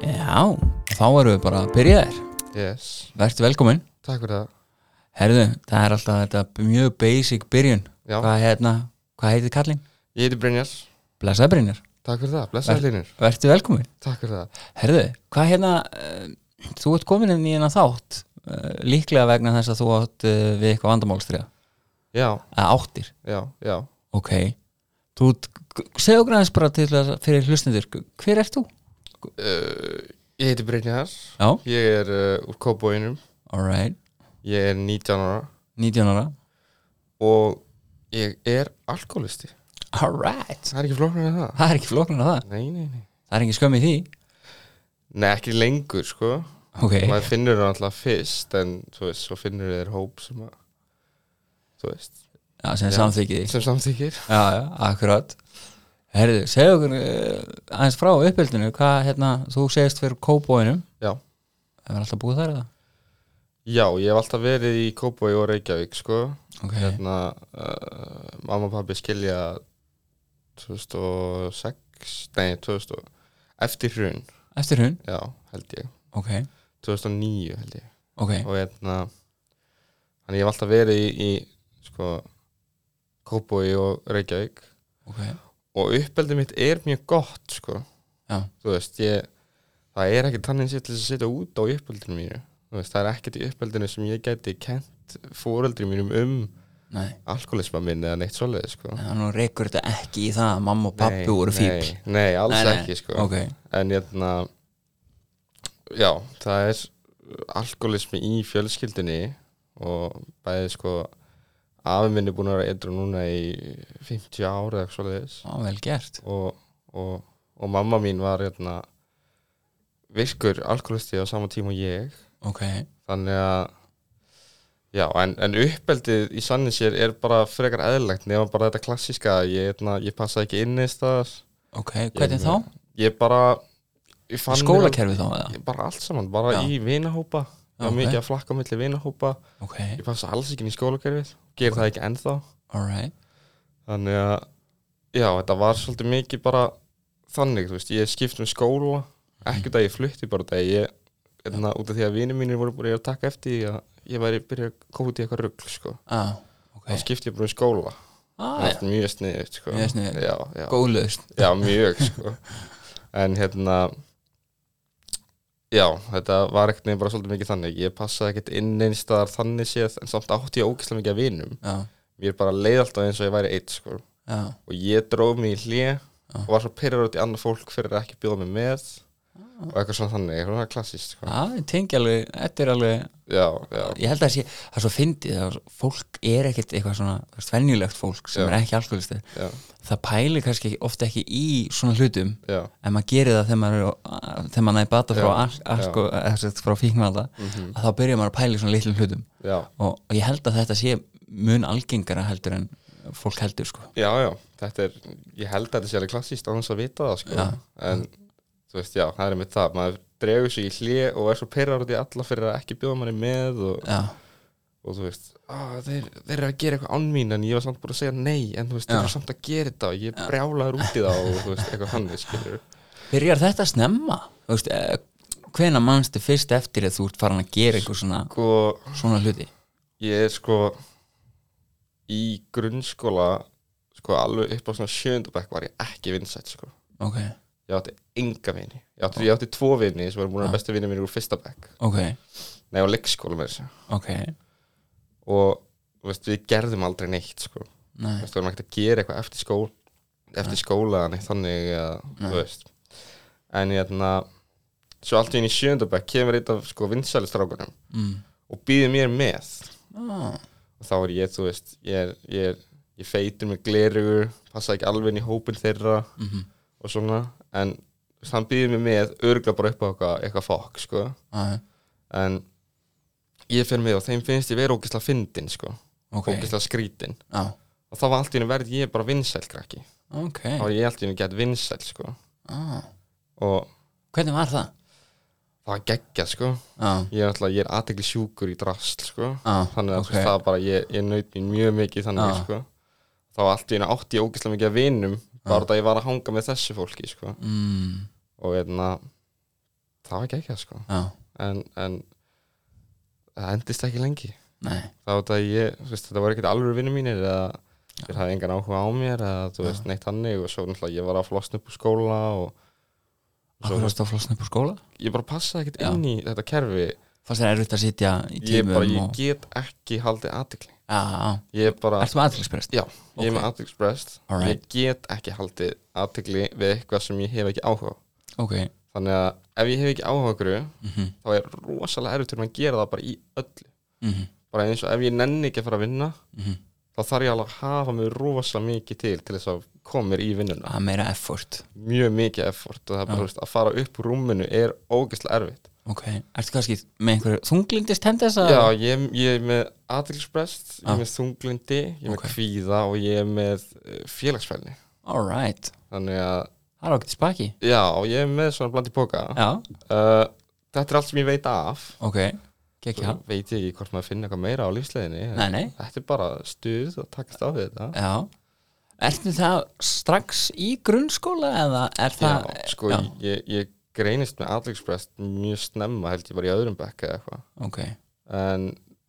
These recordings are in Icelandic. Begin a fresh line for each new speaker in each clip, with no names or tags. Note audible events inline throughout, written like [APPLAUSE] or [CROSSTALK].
Já, þá erum við bara byrjaðir
Yes,
Vertu velkomin
takk fyrir það
Herðu, það er alltaf þetta mjög basic byrjun
Já.
Hvað, hérna, hvað heitir kallinn?
Ég heiti Brynjar,
Blessaði Brynjar
takk fyrir það, blessaði hlinir
Vertu velkomin
Takk fyrir það
Herðu, hvað hérna uh, Þú ert komin inn í hérna þátt uh, Líklega vegna þess að þú átt uh, við eitthvað vandamálstriða
Já,
Að áttir
já, já
Ok Þú, segðu okkur aðeins bara til að fyrir hlustendur Hver ert þú?
uh, Ég heiti Brynjar
Já,
Ég er uh, úr Kóbóinum
alright
Ég er 19 ára
19 ára
Og ég er alkoholisti
Alright
Það er ekki flóknar en það
Það er ekki flóknir að það
Nei, nei, nei
Það er ekki skömmið því
Nei, ekki lengur, sko
Ok
Maður finnur það alltaf fyrst En, þú veist, svo finnur þeir hóp sem að Þú veist,
Já, sem
Já.
samþykki því
sem samþykir
Já, já, akkurat Herðu, segðu okkur uh, aðeins frá uppeldinu hvað, hérna, þú segist fyrir kóbóinum
Já
Það var alltaf búið þar eða?
Já, ég hef alltaf verið í Kóbói og Reykjavík, sko
Ok,
hérna uh, mamma og pabbi skilja 2006 nei 2000 og- eftir hrun,
eftir hún
já held ég
Ok,
2009 held ég
ok,
og hérna þannig ég hef alltaf verið í, í sko Kópói og Reykjavík
ok
og uppeldið mitt er mjög gott sko
Já.
þú veist ég það er ekkert þannig sér til þess að setja út á uppeldinu mínu þú veist það er ekkert í uppeldinu sem ég gæti kent fóreldri mínum um
Nei,
alkoholisma minn eða neitt svoleiði sko
þannig að nú reykur þetta ekki í það að mamma og pappi voru fíbl
nei, nei, alls ekki sko
Ok,
En hérna Já, það er alkoholismi í fjölskyldinni og bæði sko afi minn er búin að vera edru núna í 50 ára eða svoleiðis
á, vel gert
og, og, og mamma mín var hérna virkur alkoholisti á sama tíma og ég
Ok,
þannig að já, en, en uppeldið í sannin sér er bara frekar eðlægt nema bara þetta klassíska að ég, hérna, ég passa ekki inn eða staðar
ok, hvernig
Ég-
þá?
ég bara
Í
ég fann hérna,
skólakerfi þá eða?
ég, bara allt saman, bara
Já.
í vinahópa ég var
Ok.
mikið að flakka á milli vinahópa
Ok,
ég passa alls ekki inn í skólakerfið ger það ekki ennþá
alright
þannig að já, þetta var svolítið mikið bara þannig, þú veist, ég skipt um skóla ekkert að ég flutti bara þetta ég, hérna, út af því að vinir mínir voru búin að taka eftir því að ég væri byrjað að koma út í eitthvað rugl sko.
ah, Ok,
þá skipti ég bara um skóla
ah,
ah, mjög sniðið sko.
Mjög sniðugt.
já, já,
góðlaust
já, mjög sko. en hérna já, þetta var ekkert nefn bara svolítið mikið þannig ég passaði ekkert inn einstæðar þannig séð en samt átti ég ógeðslega mikið að vinum
Já,
mér bara leið alltaf eins og ég væri eitt sko.
já,
og ég dróð mig í hlje og var svo pyrrar út í annað fólk fyrir að ekki bjóða mig með og eitthvað svona þannig, eitthvað svona klassist sko.
ah, tengi alveg, þetta er alveg
já, já,
ég held að það sé, það er svo fyndið að fólk er ekkert eitthvað svona þú veist, venjulegt fólk sem
Já.
er ekki alkoholistið
já,
það pælir kannski ekki- oft ekki í svona hlutum
já,
en maður gerir það þegar maður, er á- þegar maður næði bata frá,
Já, Mhm.
al- alko, eða sem sagt frá fíknvalda að þá byrjar maður að pæla í svona litlum hlutum
já
og, og ég held að þetta sé mun algengara heldur en fólk heldur sko
já, já, þetta er, ég held að þetta sé alveg klassíst á hans að vita það sko.
Já.
en þú veist, já, það er mitt það maður dregur sig í hlje og er svo pyrrar út í alla fyrir að ekki bjóða manni með og,
já,
og þú veist, á, þeir, þeir eru að gera eitthvað án mín en ég var samt búin að segja nei en þú veist, þeir
Já.
eru samt að gera þetta og ég brjálaður út í það og þú veist, eitthvað þannig skilur
byrjar þetta snemma Þú veist, eh, hvena mannstu fyrst eftir að þú ert farin að gera einhver svona,
sko,
svona hluti
ég er sko í grunnskóla sko alveg upp á svona sjöndabæk var ég ekki vinsætt sko
ok,
ég átti enga vini ég átti, ég átti tvo vini sem var múin að bestu vini mínu úr fyrsta bæk
ok,
nei á leikskóla með þessu
ok
og þú veist, við gerðum aldrei neitt sko Þú
Nei,
veist, við varum ekkert að gera eitthvað eftir skóla eftir skóla en þannig að þú veist en hérna svo allt í einu í sjöndabæk kemur eitt af sko vinsælistrákunum
mm.
og býði mér með
ah.
og þá er ég, þú veist, ég er, ég er ég feitur með glerugur, passa ekki alveg inn í hópin þeirra
Mhm.
og svona, en þú veist, hann býður mig með örgla bara upp á eitthvað, eitthvað fokk, sko,
Aðeim,
en ég fer með og þeim finnst ég vera ógislega fyndin, sko,
ok,
ógislega skrítin
já,
og þá var allt í henni verð ég bara vinsæl, krakki
ok
þá var ég allt í henni gett vinsæl, sko
ah.
og
Hvernig var það?
það var geggjað, sko
Já,
ég er alltaf, ég er aðtegli sjúkur í drast, sko
já,
þannig að
ok.
okay. það bara, ég, ég naut mín mjög mikið þannig,
Já.
sko þá allt í einu átti ég ógeðslega mikið að vinum bara þetta að ég var að hanga með þessu fólki, sko
mm,
og hérna það var ekki ekki sko.
já,
en, en það endist ekki lengi
nei
þá þetta ég, þú veist, þetta voru ekkert alveg vinnu mínir eða þeir hafði engan áhuga á mér eða þú veist, neitt hannig og svo náttúrulega ég var að flosna upp úr skóla og
Akkur varst að flosna upp úr skóla?
ég bara passaði ekkert
Já.
inn í þetta kerfi
Fannst þér erfitt að sitja í
ég,
tímum
bara, ég
og...
get ekki haldið aðtikli
Já, já,
ég er bara,
ertu með aðtilsprest?
já, ég er
Ok.
með aðtiklsprest
Alright.
ég get ekki haldið aðtikli við eitthvað sem ég hef ekki áhuga á.
Ok,
þannig að ef ég hef ekki áhuga okkur
mm -hmm.
þá er rosalega erfitt fyrir mig að gera það bara í öllu
Mhm.
bara eins og ef ég nenni ekki að fara að vinna þá þarf ég alveg að hafa mig rosalega mikið til til þess að koma mér í vinnuna
að meira effort
mjög mikið effort og það er bara, þú veist, að fara upp úr rúminu er ógeðslega erfitt
Ok, ertu kannski með einhverju þunglindist tendens að
já, ég, ég er með aðtilsprest, ég
Ah.
er með þunglindi ég er
Ok.
með kvíða og ég er með eh, félagsfælni
Alright,
þannig að,
það er okkur spaki
já, ég er með svona bland í boka
Já,
uh, þetta er allt sem ég veit af
ok, gekk já
Svo veit ég ekki hvort maður finnir eitthvað meira á lífsleginni
Nei, nei,
þetta er bara stuð og takast á við þetta
já Ertu það strax í grunnskóla eða er það
já, sko,
já.
Ég, ég greinist með aðtilsprest mjög snemma held ég bara í öðrum bekk eða eitthvað
Ok,
en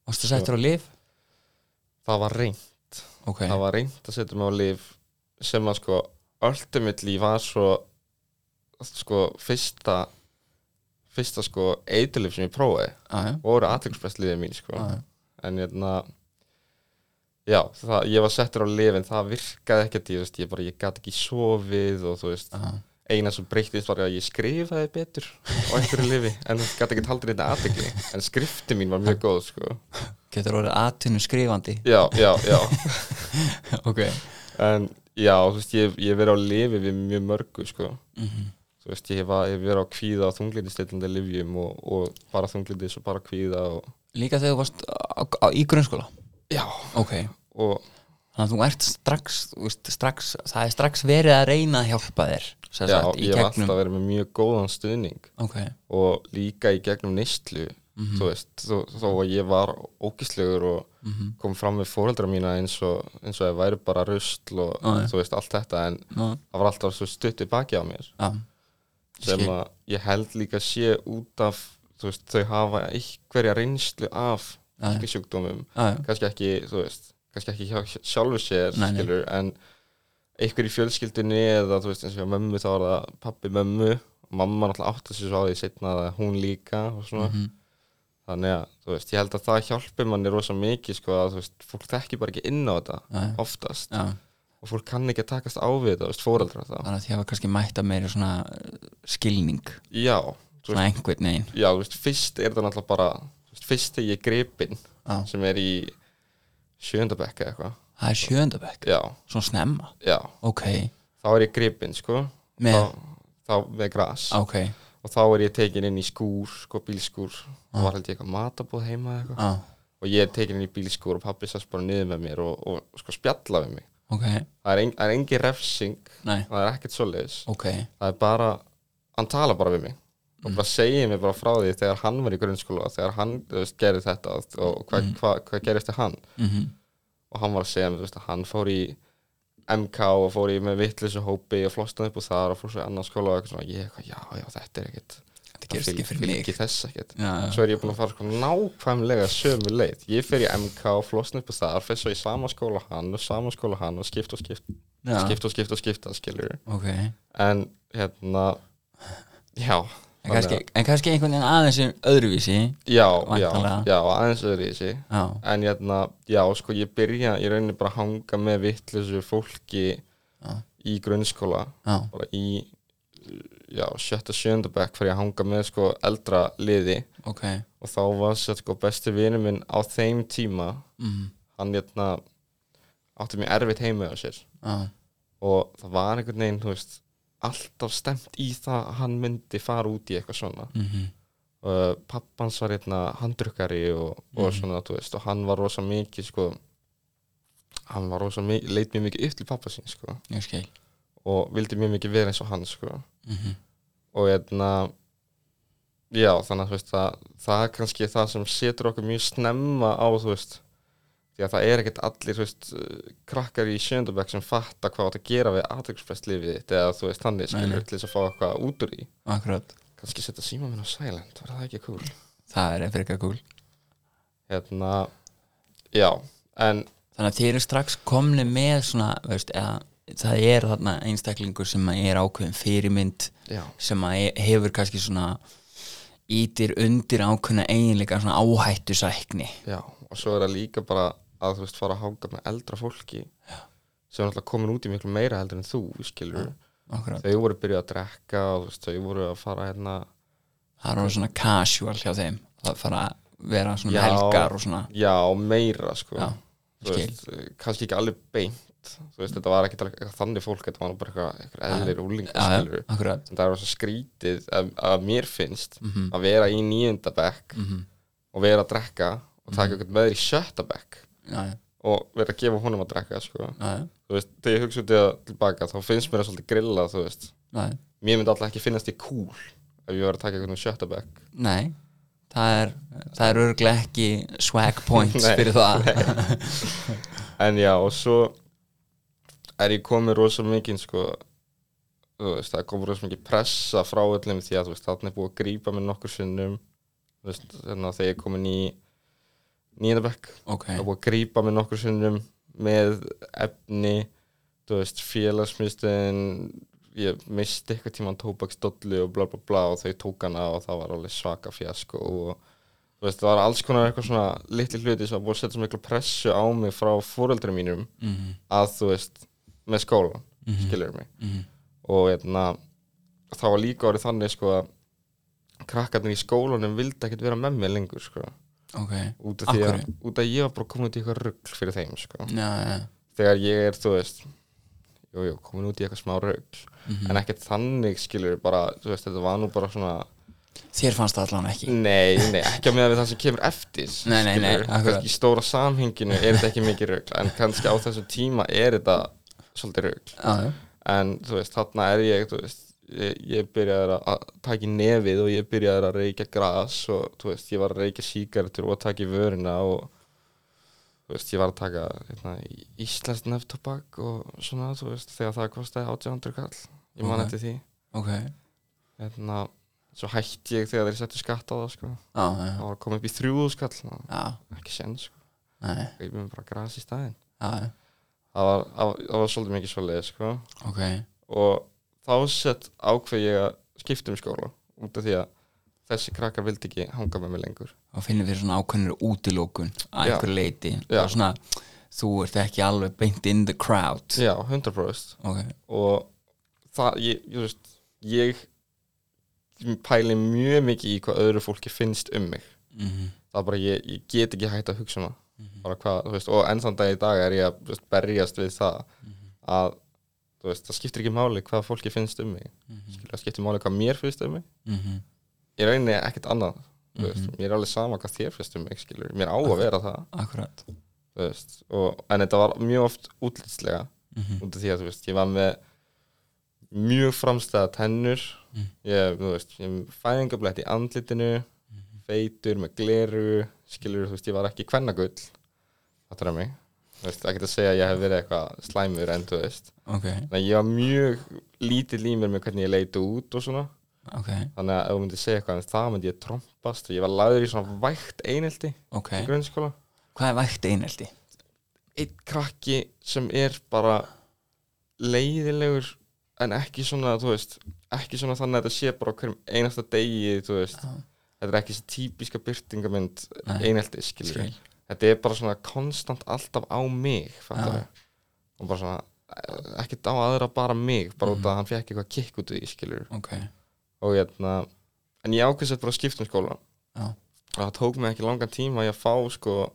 varstu settur á lif?
það var reynd
Ok,
það var reynd að setja mig á líf sem að sko ultimately var svo sko fyrsta fyrsta sko eitilif sem ég prófaði
já, já
voru aðtilsprestliðið mín sko
Ah, Já, já.
en hérna já, það, ég var settur á lif en það virkaði ekkert, ég veist, ég bara ég gat ekki sofið og þú veist
já.
eina sem breyttist var að ég skrifaði betur á einhverju lifi, en það gæti ekki haldið þetta aðtekli, en skrifti mín var
[LAUGHS]
mjög góð sko.
Getur orðið atvinnu skrifandi
[LAUGHS] já, já, já
Ok
en já, þú veist, ég ég hef verið á lifi við mjög mörgu sko.
mm
þú veist, ég hef, að- ég hef verið á kvíða og þunglindistillandi lifjum og, og bara þunglindis og bara kvíða og,
Líka þegar þú varst á, á, í grunnskóla
já,
Ok,
og
þannig að þú ert strax, þú veist, strax það er strax verið að reyna að hjálpa þér sem
já,
sagt, í
ég hef
gegnum
alltaf verið með mjög góðan stuðning
Ok,
og líka í gegnum neyslu
Mhm.
þú veist, þó, þó að ég var ógislegur og
Mhm.
kom fram við fóreldra mína eins og, eins og ég væri bara rusl og
Já, já.
þú veist, allt þetta en
nú,
það var alltaf svo stutt í baki á mér
já
sem
Skil.
að ég held líka sé út af þú veist, þau hafa einhverja reynslu af
Já, já.
sjúkdómum
Já, já,
kannski ekki, þú veist, kannski ekki hjá, sjálfu sér,
Nei, nei.
skilur, en einhver í fjölskyldunni eða, þú veist, eins og hjá mömmu þá var það pappi mömmu og mamma náttúrulega átti sér svo á því setna að hún líka og svona,
Mhm.
þannig að, þú veist, ég held að það hjálpi manni rosa mikið, sko, að, þú veist, fólk þekki bara ekki inn á þetta
já, já.
oftast
já.
og fólk kann ekki að takast á við þetta, þú veist, fóreldrar þá.
Þannig að ég hafa kannski mætt að meira svona uh, skilning,
Já, þú
svona einhvern veginn
já, þú veist, fyrst er það náttúrulega bara, þú veist, fyrst þegar ég er gripinn
Já.
sem er í sjöndabekka eitthvað,
Það er sjöndabæk,
já,
svona snemma
já,
Ok,
þá er ég gripinn sko
með,
þá, þá með gras
ok Já,
og þá er ég tekin inn í skúr sko bílskúr og var held ég eitthvað matabóð heima eða eitthvað
Ah,
og ég er tekin inn í bílskúr og pappi sast bara niður með mér og, og sko spjalla við mig
ok,
það er, en, það er engi refsing
nei,
það er ekkert svoleiðis
ok
það er bara, hann talar bara við mig og bara
Mm.
segir mér bara frá því þegar hann var í grunnskóla þegar hann þú veist, gerði þetta og og hvað mm. hva, hva gerist þér hann
mm
og hann var að segja mér, þú veist, að hann fór í MK og fór í með vitleysu hópi og flosnaði upp og þar og fór svo í annan skóla og eitthvað svona, ég eitthvað, já, já, þetta er ekkert
Þetta gerist ekki fyrir mig
Ekki þess ekkert
Já, já,
Svo er ég búin að fara sko nákvæmlega sömu leið Ég fer í MK og flosna upp og þar fer svo í sama skóla og hann og sama skóla og hann og skipt og skipt,
já,
skipt og skipt og skipta skilur
ok
En hérna, já
En kannski, en kannski einhvern veginn aðeins um öðruvísi
Já, já,
Væntanlega.
já, aðeins öðru í þessi
Já,
en hérna, já, sko, ég byrja ég rauninni bara að hanga með vitleysu fólki
Já.
í grunnskóla
já,
bara í já, sjötta sjöndabæk fyrir að hanga með sko eldra liði
ok
og þá var sér sko besti vinur minn á þeim tíma
mm.
hann hérna átti mjög erfitt heima á sér
Já,
og það var einhvern veginn, þú veist alltaf stemt í það að hann myndi fara út í eitthvað svona
mm
uh, pappans var hérna handrukkari og,
Mhm.
og svona, þú veist, og hann var rosa mikið, sko hann var rosa mikið, leit mjög mikið upp til pappa sín, sko,
ég skil
og vildi mjög mikið vera eins og hann, sko,
mm
og hérna já, þannig að, þú veist, það það er kannski það sem setur okkur mjög snemma á, þú veist því að það er ekkert allir, þú veist uh, krakkar í sjöndabæk sem fatta hvað átt að gera við aðtöksprest þitt, eða þú veist,
Nei,
þannig
nei.
skilur til þess að fá eitthvað út úr í
Akkurat
kannski setja síma minn á silent, var það ekki cool
það er frekar cool
hérna, já en
þannig að þeir eru strax komni með svona, veist, eða, það er þarna einstaklingur sem að er ákveðin fyrirmynd
já,
sem að e- hefur kannski svona ítir undir ákveðna eiginleika svona áhættu sækni
já, og svo er það líka bara að þú veist fara að hanga með eldra fólki sem er alltaf komin út í miklu meira heldur en þú, skilur
Akkurat.
þau voru byrjuð að drekka og þú veist, þau voru að fara hérna
það er orðið svona casual hjá þeim það fara að vera svona um
Já.
helgar og svona
já, meira sko
Já,
Þú veist, kannski ekki alveg beint þú veist, þetta var ekki þannig fólk þetta var nú bara eitthvað- eitthvað eðlir úlingar
já,
skilur
akkurat Mhm.
en það er svo skrítið að, að mér finnst að vera í níunda bekk og vera að drekka og
Mhm.
taka eitthvað með þér í sjötta bekk
já, já,
og vera að gefa honum að drekka sko.
já, já,
þú veist, þegar ég hugsa út í það tilbaka þá finnst mér það svolítið grilla þú veist
já.
mér myndi alltaf ekki finnast ég cool ef ég var að taka eitthvað sjötta bekk
nei það er, það er örglega ekki swag points
[LAUGHS] Nei,
fyrir það
[LAUGHS] en já, og svo er ég komið rosa mikið sko, þú veist, það er komið rosa mikið pressa frá öllum því að þú veist, þarna er búið að grípa mig nokkur sinnum þú veist, þannig að þegar ég er komin í nýjandabekk
ok,
það er búið að grípa mig nokkur sinnum með efni þú veist, félagsmyndstöðin ég misti eitthvað tímann tóbaksdollu og bla bla bla og þau tók hana og það var alveg svaka fjasko og þú veist, það var alls konar eitthvað svona litli hluti sem var búið að setja svo miklu pressu á mig frá fóreldri mínum
mhm,
að þú veist, með skólan mm
mhm,
skilur mig
mhm
og hérna, það var líka orðið þannig sko að krakkarnir í skólanum vildi ekkert vera með mér lengur sko,
ok,
út af því
Af
að, út af að ég var bara komin út í eitthvað rugl fyrir þeim sko
já, já
þegar ég er, þú veist jú, jú, komin út í eitthvað smá rauk
mhm.
en ekkert þannig skilur bara, þú veist, þetta var nú bara svona
þér fannst það allan ekki
nei, nei, ekki að meða við það sem kemur eftir
Nei, nei, nei,
skilurðu.
akkurat.
kannski í stóra samhenginu er þetta ekki mikið rauk en kannski á þessum tíma er þetta svolítið rauk
já, já,
en þú veist, þarna er ég, þú veist ég, ég byrjaði að- að taka í nefið og ég byrjaði að reykja gras og þú veist, ég var að reykja sígaretur og að taka í vörina og þú veist, ég var að taka hérna, íslenskt neftobak og svona, þú veist, þegar það kostaði 800 kall, ég man
Ok.
eftir því
ok já,
hérna, svo hætti ég þegar þeir settu skatt á það, sko,
já,
það
já,
var að koma upp í 3000 skall, ná,
já,
ekki sen, sko
nei,
ég byrjaði bara gras í staðinn
já, já, það
það var, það var, það var svolítið mikið svolítið, sko
ok
og þá sett ákveð ég að skipta um skóla út af því að þessi krakkar vildi ekki hanga með mig lengur
og finnum við svona ákveðnir útilókun að
Já.
einhver leiti
Já.
og svona, þú ert ekki alveg beint in the crowd
já, 100%
ok,
og það, ég, ég, veist, ég pæli mjög mikið í hvað öðru fólki finnst um mig
mhm,
það er bara, ég, ég get ekki hægt að hugsa um það
mhm,
bara hvað, þú veist, og enn þann dag í dag er ég að þú veist, berjast við það
mhm,
að, þú veist, það skiptir ekki máli hvað fólki finnst um mig,
mhm,
Skilur, það skiptir máli hvað mér finnst um mig
mhm,
ég reyni ekkert annað mm veist,
Mhm.
mér er alveg sama hvað þér finnst um mig skilur. mér á að vera það
akkurat
þú veist, og, en þetta var mjög oft útlitslega
mhm,
út af því að þú veist, ég var með mjög framstæða tennur
Mm.
ég, þú veist, ég er með fæðingablætt í andlitinu
Mhm.
feitur með gleru skilur, þú veist, ég var ekki kvennagull það er að mig þú veist, ekki að segja að ég hef verið eitthvað slæmur en þú veist,
ok,
þannig að ég var mjög lítill í mér með hvernig ég leiti út og svona
ok,
þannig að ef þú myndir segja eitthvað en það myndi ég trompast og ég var lagður í svona vægt einelti
ok
í grunnskóla
hvað er vægt eineldi?
einn krakki sem er bara leiðilegur en ekki svona, þú veist ekki svona þannig að þetta sé bara á hverjum einasta degi, þú veist
Já.
þetta er ekki þessi típiska byrtingamynd
Nei.
einelti, skilur
skil,
þetta er bara svona konstant alltaf á mig fattar og bara svona eh, ekkert á aðra bara mig bara
Mhm.
út af að hann fekk eitthvað kikk út í, skilur
ok
og hérna en ég ákveðs að bara skipta um skóla
Já.
og það tók mig ekki langan tíma í að fá sko,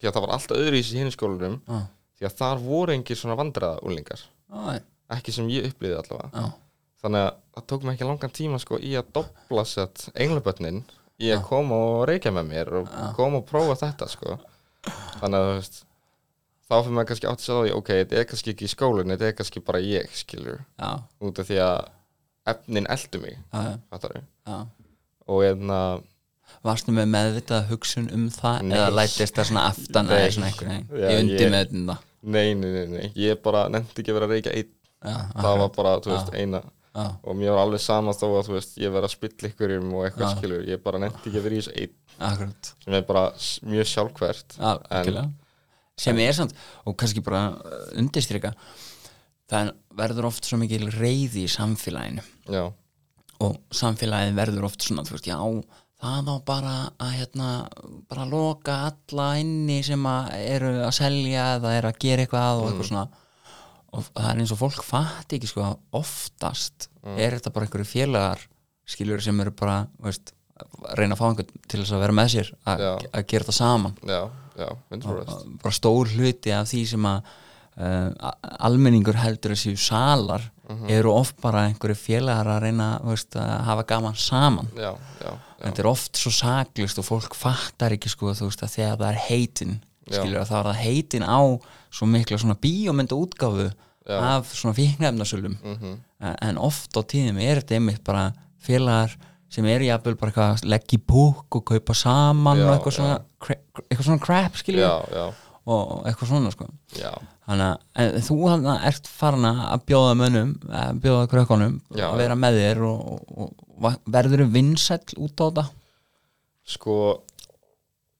því að það var alltaf öðru í þessi hinn skólanum
já,
því að þar voru engir svona vandræða úlingar
já,
ekki sem ég upplýði allavega
já,
þannig að það tók mig ekki langan tíma sko, í að dobla sett englabötnin í að
Já.
koma og reykja með mér og
Já.
koma og prófa þetta sko. þannig að þú veist þá fyrir maður kannski átt að segja ok, þetta er kannski ekki í skólinu, þetta er kannski bara ég skilur,
já,
út af því að efnin eldu mig,
já, já,
fattar
já
og hérna,
Varstu með meðvitað hugsun um það
Nei.
eða lætist það svona aftan eða
Nei.
svona einhvern veginn
Já,
ég undi
ég-
með þetta
Nei, nei, nei, nei, ég bara nefndi ekki að vera að reykja einn,
Já,
það
akkurat.
var bara, þú veist, eina
já,
og mér var alveg sama þó að þú veist ég verið að spilla ykkurjum og eitthvað
Já.
skilur ég bara nefndi ekki að vera í þessu einn
akkurat
sem er bara s- mjög sjálfkvært
já, algjörlega. sem er samt, og kannski bara uh, undirstrika það verður oft svo mikil reyði í samfélaginu
já,
og samfélagið verður oft svona þú veist, já, það á bara að hérna, bara loka alla inni sem að eru að selja eða eru að gera eitthvað og eitthvað svona og það er eins og fólk fatti ekki sko að oftast er þetta bara einhverju félagar skilur sem eru bara, þú veist að reyna að fá einhvern til þess að vera með sér að
Já.
að gera þetta saman
já, já, vindsfórest
bara stór hluti af því sem að uh, a- almenningur heldur að séu salar
Mhm.
eru oft bara einhverju félagar að reyna þú veist, að hafa gaman saman
já, já, já,
þetta er oft svo saklist og fólk fattar ekki sko þú veist að þegar það er heitin
Já.
skilur að það var það heitin á svo mikla svona bíómynda útgáfu af svona fíknefnasölum
Mm. Mhm.
en en oft á tíðum er þetta einmitt bara félagar sem eru jafnvel bara eitthvað að leggja í búk og kaupa saman
Já,
og eitthvað svona, cra- eitthvað svona crap skilur
já, já,
og og eitthvað svona sko
já.
þannig að en þú hann ert farin að bjóða mönnum að bjóða krökkunum
Já,
að vera með þér og, og, og va- verður vinsæll út á þetta
sko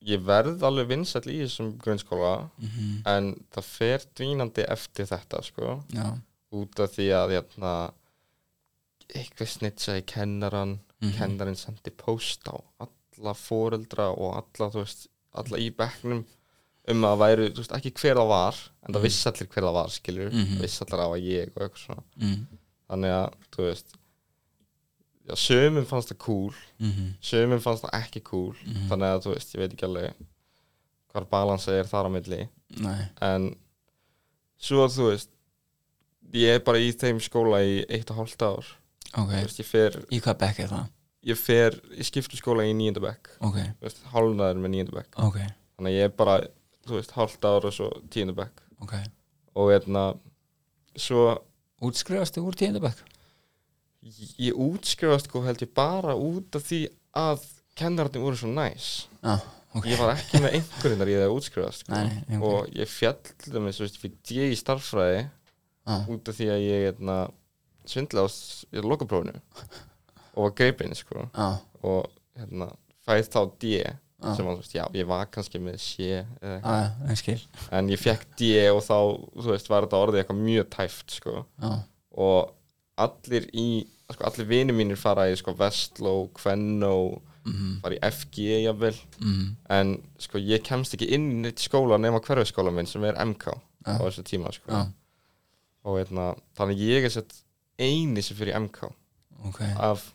ég verð alveg vinsæll í þessum grunnskóla
Mm.
en það fer dvínandi eftir þetta sko
já,
út af því að hérna, eitthvað snitsaði kennaran
Mhm.
kennarin sendi post á alla foreldra og alla, þú veist, alla í bekknum um að væru, þú veist, ekki hver það var en það vissi allir hver það var, skilur mm
Mhm.
vissi allir að ég og eitthvað svona
mm,
þannig að, þú veist já, sömum fannst það cool
mhm,
sömum fannst það ekki cool þannig að, þú veist, ég veit ekki alveg hvar balansa er þar á milli
nei,
en svo þú veist ég er bara í þeim skóla í eitt og hálft ár
ok,
þú veist, ég fer,
í hvað bekk er það
ég fer ég skiptu skóla í nýjönda bekk
ok,
þú veist, hálfnaður með nýjönda bekk
ok,
þannig að ég er bara, þú veist, hálft ár og svo tíunda bekk
ok
og hérna svo
útskrifastu úr tíðindabekk
ég- ég útskrifast sko held ég bara út af því að kennararnir voru svo næs
já, Ah, ok,
ég var ekki með einhverjum þar ég það útskrifast sko.
Nei, nei, nei, ok.
og ég fjall til dæmis, þú veist, fyrir D í starffræði
já,
út af því að ég hérna, svindla á s- í lokaprófinu og var greipinn sko.
já,
og hérna, fæð þá D
Já.
sem að, þú veist, já, ég var kannski með C
já,
eða,
já, ég skil
eitthvað. en ég fekk D og þá, þú veist, var þetta orðið eitthvað mjög tæft, sko
já,
og allir í, sko, allir vinir mínir fara í, sko, Vestló, Kvennó
mhm,
fara í FG, jafnvel
mhm,
en, sko, ég kemst ekki inn í neitt skóla nema hverfisskóla minn sem er MK
Já.
á þessu tíma, sko
já,
og hérna, þannig að ég er sett eini sem fyrir MK
ok
af,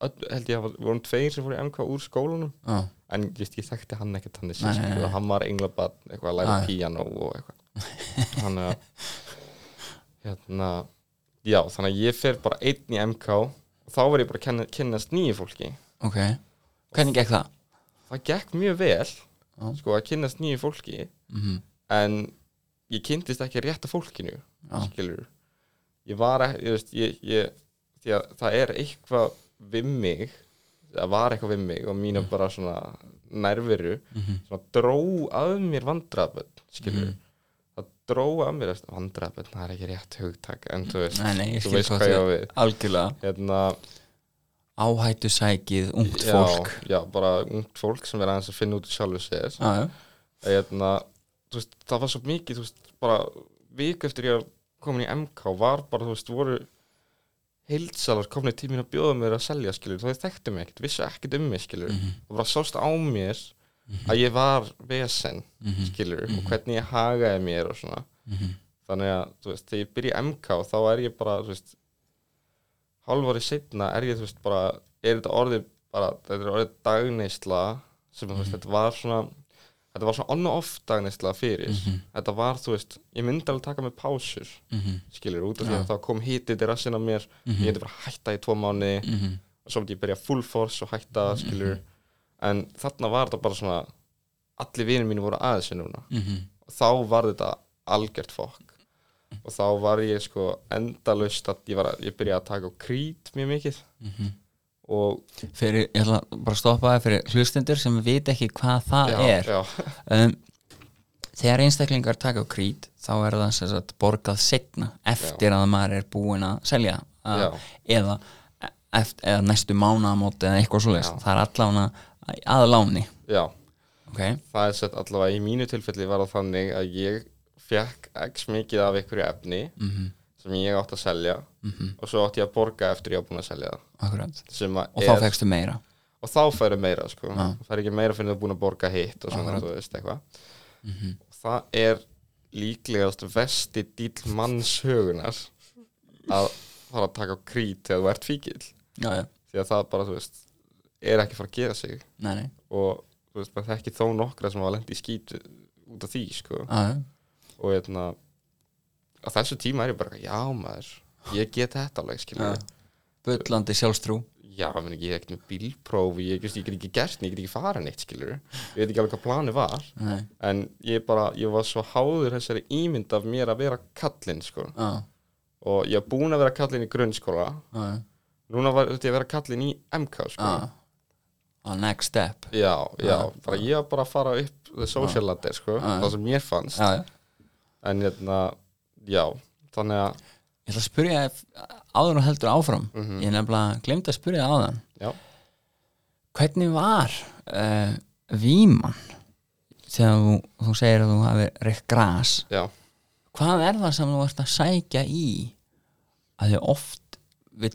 öll, held ég að við vorum tveir sem fyrir MK úr skólanum
já,
en ég, veist, ég þekkti hann ekkert hann
Nei,
þessi,
nei, Ah. nei.
hann var englabat eitthvað að læra
Nei.
píanó og
[LAUGHS]
eitthvað þannig að hérna, já, þannig að ég fer bara einn í MK og þá var ég bara að kenna, kynnast nýju fólki
ok hvernig gekk það
það gekk mjög vel
Já.
sko að kynnast nýju fólki
mhm,
en ég kynntist ekki rétta fólkinu
Já.
skilur ég var ekki, ég veist ég, ég, því að það er eitthvað við mig það var eitthvað við mig og mína
Mm.
bara svona nærveru
mhm,
svona dró að mér vandraðböld skilur það dró að mér vandraðböld, það er ekki rétt hugtak en þú veist,
nei, nei, ég
þú
skil
veist hvað ég á við
algjörlega
hérna,
áhættu sækið, ungt
já,
fólk Ah.
já, bara ungt fólk sem er aðeins að finna út í sjálfu sér
já, já,
hérna, þú veist, það var svo mikið þú veist, bara viku eftir ég var komin í MK var bara, þú veist, voru heildsalar komin til mín að bjóða mér að selja skilur, þá ég þekkti mig ekkert, vissi ekkert um mig skilur,
Mm. Mhm,
og bara sást á mér að ég var vesen
Mm.
skilur, og hvernig ég hagaði mér og svona,
mhm,
þannig að þú veist, þegar ég byrja í MK þá er ég bara, þú veist hálfari setna er ég, þú veist, bara er þetta orðið bara, þetta er orðið dagneisla sem, þú veist, þetta var svona þetta var svona on og off dagneisla fyrir þetta var, þú veist, ég myndi alveg taka með pásur
mhm,
skilur, út af því að þá kom hítið í rassinn á mér, ég hefði bara að hætta í tvo mánu
mhm
og svo myndi ég byrja full force og hætta, skilur en þarna var þetta bara svona allir vinir mínu voru aðeins núna
mhm,
og þá var þetta algjört fokk og þá var ég sko endalaust að ég, var að, ég byrjaði að taka á krít mjög mikið
mhm.
og
fyrir, ég ætla bara að stoppa það fyrir hlustundur sem veit ekki hvað það er
já,
um, þegar einstaklingar taka á krít þá er það sem sagt borgað segna eftir að maður er búin að selja að,
Já.
eða, eft, eða næstu mánaðamót eða eitthvað svoleiðis,
Já.
það er allavega að láni
já,
okay?
það er sett allavega í mínu tilfelli var það þannig að ég fekk x mikið af einhverju efni
Mhm.
sem ég átti að selja og svo átti ég að borga eftir ég á búin að selja það
Akkurat.
sem að
og
er-
þá fegstu meira
og þá færi meira sko. það er ekki meira fyrir að búin að borga hitt og svona,
Akkurat. Mhm.
þú veist eitthvað það er líklegast vesti dýl mannshögunar að fara að taka á krít þegar þú ert fíkil
já, já.
því að það bara, þú veist, er ekki að fara að gera sig
Nei, nei.
og þú veist, maður þekki þó nokkra sem hafa lent í skít út af því, sko
Já, já.
og hérna á þessu tíma er ég bara, já maður ég get þetta alveg, skilja
Já. bullandi sjálfstrú
já, menn ekki, ég er ekkert með bílpróf ég, ég, ég get ekki gert neitt, ég get ekki fara neitt skilur ég veit ekki alveg hvað planið var
Nei.
en ég bara, ég var svo háður þessari ímynd af mér að vera kallinn sko.
Já,
og ég var búin að vera kallinn í grunnskóla
já, já.
núna var þetta að vera kallinn í MK sko.
Já. á next step
já, já,
Ah.
bara ég var bara að fara upp the social ladder, sko,
Ah.
það sem mér fannst
já, já.
en hérna, já þannig að,
ég ætla að spyrja ef- áður og heldur áfram ég nefnilega glemt að spyrja það áðan
já,
hvernig var uh, víman þegar þú, þú segir að þú hafi reykt gras
já
hvað er það sem þú ert að sækja í að þið oft vill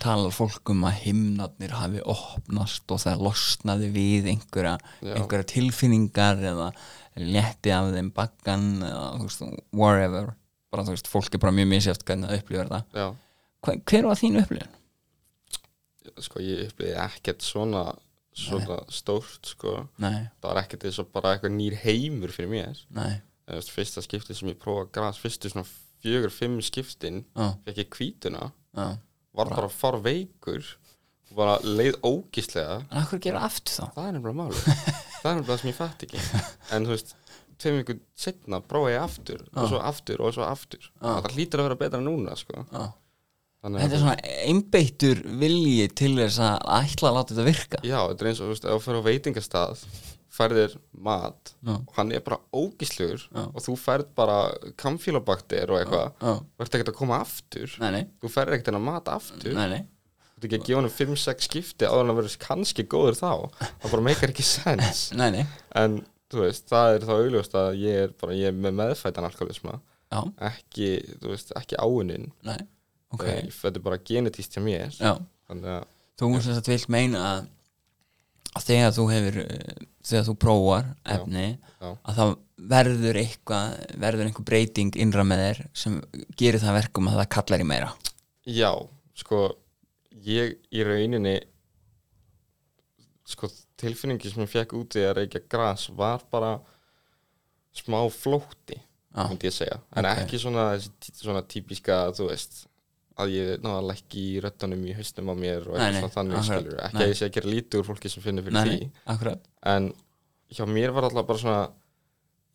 tala fólk um að himnarnir hafi opnast og það losnaði við einhverja,
Já.
einhverja tilfinningar eða létti af þeim bakkan eða þú veist, wherever bara þú veist, fólk er bara mjög misjátt hvernig það upplifir það
já,
hver, hver var þín upplifin?
sko, ég upplýði ekkert svona svona stórt, sko
Nei,
það var ekkert eins og bara eitthvað nýr heimur fyrir mér
nei,
en, þú veist, fyrsta skipti sem ég prófa gras fyrstu svona fjögur, fimm skiptin
á,
fekk ég hvítuna,
á
var bara far veikur og bara leið ógíslega
en hvað gera aftur þá?
það er nefnilega máli
[LAUGHS]
það er nefnilega það sem ég fætt ekki en þú veist, tveim ykkur setna prófa ég aftur og svo aftur og svo aftur það hlýtur að vera betra núna sko.
Á.
þannig
Þetta
að
er svona einbeittur vilji til þess að ætla að láta þetta virka
já, þetta er eins og þú veist, ef þú fyrir á veitingastað færðir mat
Já.
og hann er bara ógíslegur og þú færð bara kamfílabakter og eitthvað
Já.
þú ert ekkert að koma aftur
Nei, nei,
þú færð ekkert að mat aftur
nei, nei
þú ert ekki að gefa hann 5-6 skipti áður en að verður kannski góður þá það bara meikar ekki sens
Nei, nei,
en þú veist, það er þá augljóst að ég er bara, ég er með meðfættan alkoholisma
já,
ekki, þú veist, ekki áunin
nei Ok,
okay. þetta er bara genetíst hjá mér
já
þannig að,
Þú sem þetta vilt meina að að þegar þú hefur eh, þegar þú prófar efni
já.
að það verður eitthvað verður einhver breyting innra með þér sem gerir það verkum að það kallar í meira
já, sko ég í rauninni sko tilfinningi sem ég fekk úti að reykja gras var bara smá flótti
Já.
myndi ég segja, en
Ok.
ekki svona, þessi- svona típiska, þú veist að ég ná að lækki í röddunum í haustum á mér og
Nei,
eitthvað
nei,
svona þannig
akkurat,
skilur ekki
nei.
að ég sé að gera lítið úr fólki sem finnir fyrir
Nei,
því
nei, akkurat
en hjá mér var alltaf bara svona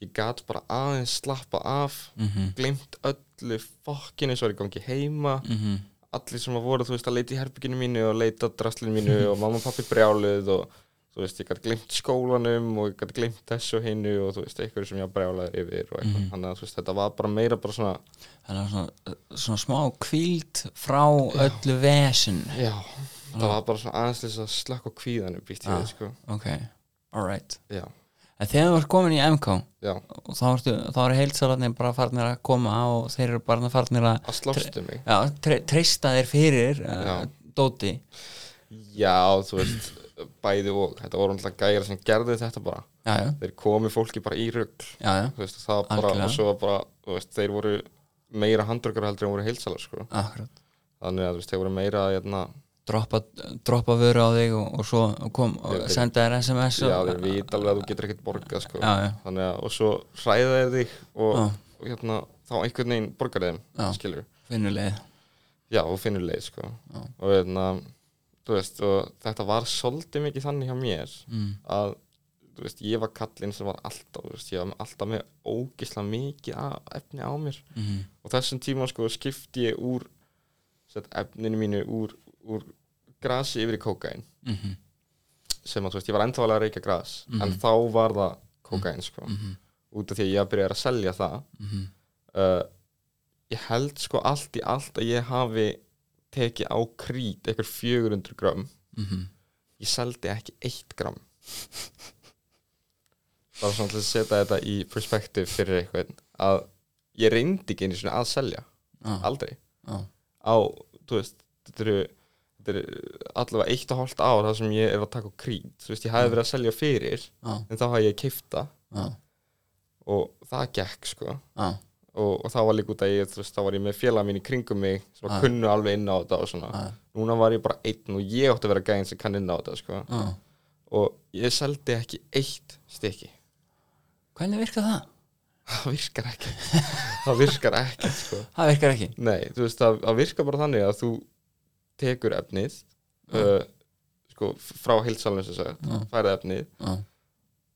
ég gat bara aðeins slappa af mm glimt öllu fokkinu eins og var í gangi heima
Mhm.
allir sem að voru, þú veist, að leita í herbygginu mínu og leita að drastlinu
[LAUGHS]
mínu og mamma og pappi brjáluð og þú veist, ég gat glimt skólanum og ég gat glimt þessu og hinu og þú veist, einhverju sem ég var brjálaður yfir og
Mhm.
eitthvað, þannig að þú veist, þetta var bara meira bara svona,
Þannig að svona, svona smá kvíld frá öllu vesin
já, það var bara svona aðeins þess að slökk og kvíðanum býtt í
Já.
því, sko,
Ok, alright
já,
En þegar þú ert komin í MK
já,
og þá, ertu, þá eru heilsalarnir bara farnir að koma og þeir eru bara farnir að
að slástu mig
já, tre treysta þér fyrir uh,
Já.
dóti
Já, þú veist, bæði og þetta voru alltaf gæjar sem gerðu þetta bara
já, já,
þeir komi fólki bara í rugl
já, já,
þú veist, það var bara,
Algjörlega.
og svo var bara þú veist, þeir voru meira handrökkar heldur en voru heilsalar, sko,
akkurat
þannig að þú veist, þeir voru meira, hérna,
droppa, droppa vöru á þig og, og svo kom og
Þeir-
senda þér SMS
já,
og,
þeir vita alveg að þú getur ekkert borgað, sko
já, já,
þannig að, og svo hræða þeir þig og,
Já.
og hérna, þá einhvern veginn borgar þeim,
Já.
skilur
vinnulegð
já, og finnur leið, sko og hérna, þú veist, og þetta var svolítið mikið þannig hjá mér
mm.
að þú veist, ég var kallinn sem var alltaf þú veist, ég var alltaf með ógisla mikið af efni á mér
Mm.
og þessum tíma sko skipti ég úr sett, efninu mínu úr, úr grasi yfir í kókain
Mm -hmm.
sem að þú veist, ég var ennþálega að reykja gras en þá var það kókain sko
mhm,
út af því að ég byrjaði að selja það
Mm -hmm.
uh, ég held sko allt í allt að ég hafi teki á krít eitthvað 400 gram
mm
ég seldi ekki 1 gram bara svona til að setja þetta í perspektiv fyrir eitthvað að ég reyndi ekki einu svona að selja
já,
aldrei
já,
á, þú veist, þetta eru þetta eru allavega eitt og hálft ár þar sem ég er að taka á krít, þú veist, ég hafði verið að selja fyrir,
já,
en þá hafði ég keifta
já,
og það gekk, sko
já,
og, og þá var líka út að ég, þú veist, þá var ég með félag mín í kringum mig sem
Ah.
var kunnu alveg inn á þetta og svona
já,
núna var ég bara einn og ég átti að vera gæðin sem kann inn á þetta, sko
já.
og ég seldi ekki eitt stykki [LAUGHS]
Hvernig virkar það?
það virkar ekki það virkar ekki, sko
Það virkar ekki
nei, þú veist, það, það virkar bara þannig að þú tekur efnið uh, sko, frá heilsalunum sem sagt,
Mm.
færið efnið
Já,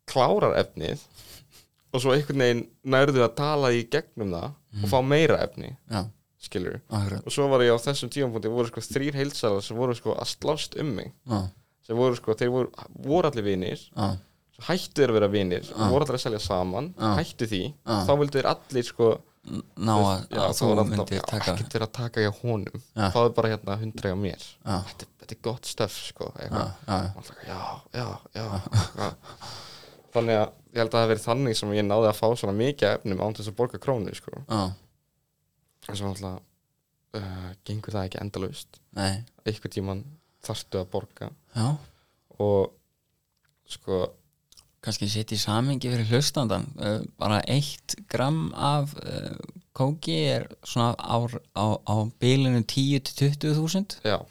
klárar efnið og svo einhvern veginn nærðu að tala í gegnum það og fá meira efni,
já,
skilur
akkurat
og svo var ég á þessum tímapunkti voru sko þrýr heilsalar sem voru sko að slást um mig
Já,
sem voru sko, þeir voru, voru allir vinir
já,
svo hættu þeir að vera vinir voru allir að selja saman,
Ah.
hættu því
Ah.
þá vildu þeir allir sko
N- ná
þú
að
veist, já,
að
þá
þú
var alltaf,
myndir
já,
taka
ekkert verið að taka hjá honum
Já.
fáðu bara hérna hundra hjá mér
Já,
þetta, þetta er gott stöf sko
já,
eitthvað.
já,
Alltaf, já, já, já eitthvað. þannig að ég held að það hafi verið þannig sem ég náði að fá svona mikið af efnum án þess að borga krónu sko
já,
þess að alltaf uh, gengur það ekki endalaust
nei,
einhvern tíman þarftu að borga
já
og sko
kannski setja í samingi fyrir hlustandan uh, bara eitt gram af uh, kóki er svona á, á, á bilinu 10 til 20 þúsund
já,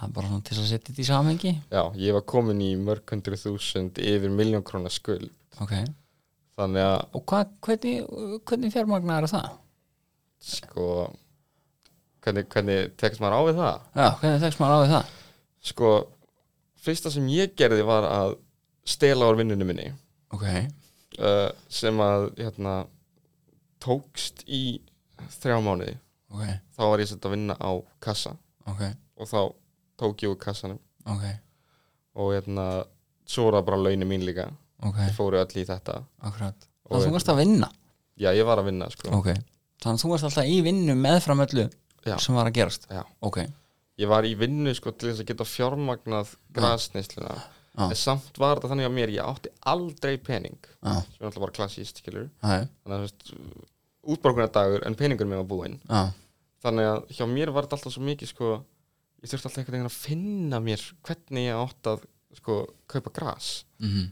það er bara svona til að setja þetta í samingi
já, ég var komin í mörg hundru þúsund yfir miljón krónar skuld
ok,
þannig að
og hva, hvernig, hvernig fjármagnar er það?
sko hvernig, hvernig tekst maður á við það
já, hvernig þekst maður á við það?
sko, fyrsta sem ég gerði var að stela úr vinnunum minni
ok,
uh, sem að hérna, tókst í þrjá mánuði
ok,
þá var ég sett að vinna á kassa
ok,
og þá tók ég úr kassanum
ok
og hérna, svo var það bara launin mín líka
ok,
Þeir fóru öll í þetta
akkurat þannig að þú
Og hérna-
varst að vinna
Já, ég var að vinna sko.
ok, þannig að þú varst alltaf í vinnu meðfram öllu
Já.
sem var að gerast
Já.
ok,
Ég var í vinnu sko, til þess að geta fjármagnað grasnýsluna
Já.
En samt var þetta þannig að mér, ég átti aldrei pening
já,
Sem er alltaf bara klassíst, skilur
já,
Þannig að þú veist, útborgunardagur en peningur mér var búinn
já
Þannig að hjá mér var þetta alltaf svo mikið sko, Ég þurfti alltaf einhvern veginn að finna mér Hvernig ég átti að sko, kaupa gras
mhm,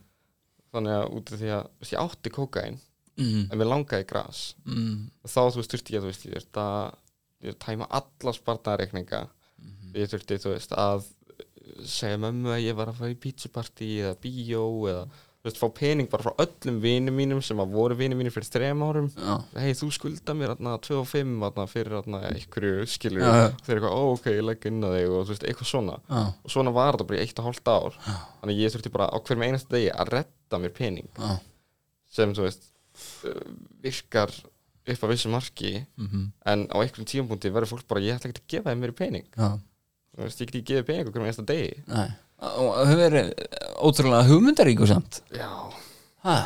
Þannig að út af því að þú veist, ég átti kókain
mhm,
En mér langaði gras
mhm
og þá þú veist þurfti ég, þú veist, ég þurfti að ég þurfti að tæma alla spartnareikninga
Mhm.
ég þurfti, þú veist, að uh, segja mömmu að ég var að fara í pítsupartí eða bíó eða þú veist, fá pening bara frá öllum vinum mínum sem að voru vinum mínum fyrir þrem árum
já,
hei, þú skulda mér atna, 2 og 5 atna, fyrir atna, einhverju skilur
Já, já.
þeir eru eitthvað, ó, ok, ég legg inn að þig og þú veist, eitthvað svona
já,
og svona var þetta bara í eitt og hálft ár þannig að ég þurfti bara á hverjum einasta degi að redda mér pening
já
sem, þú veist, uh, virkar upp að vissu marki
mhm,
en á einhverjum tímapunkti verður fólk bara ég ætla ekki að gefa þeim meiri pening
já,
þú veist, ég get ekki gefið pening okkur með einsta degi
nei og þau verið ótrúlega hugmyndaríku samt
já,
ha,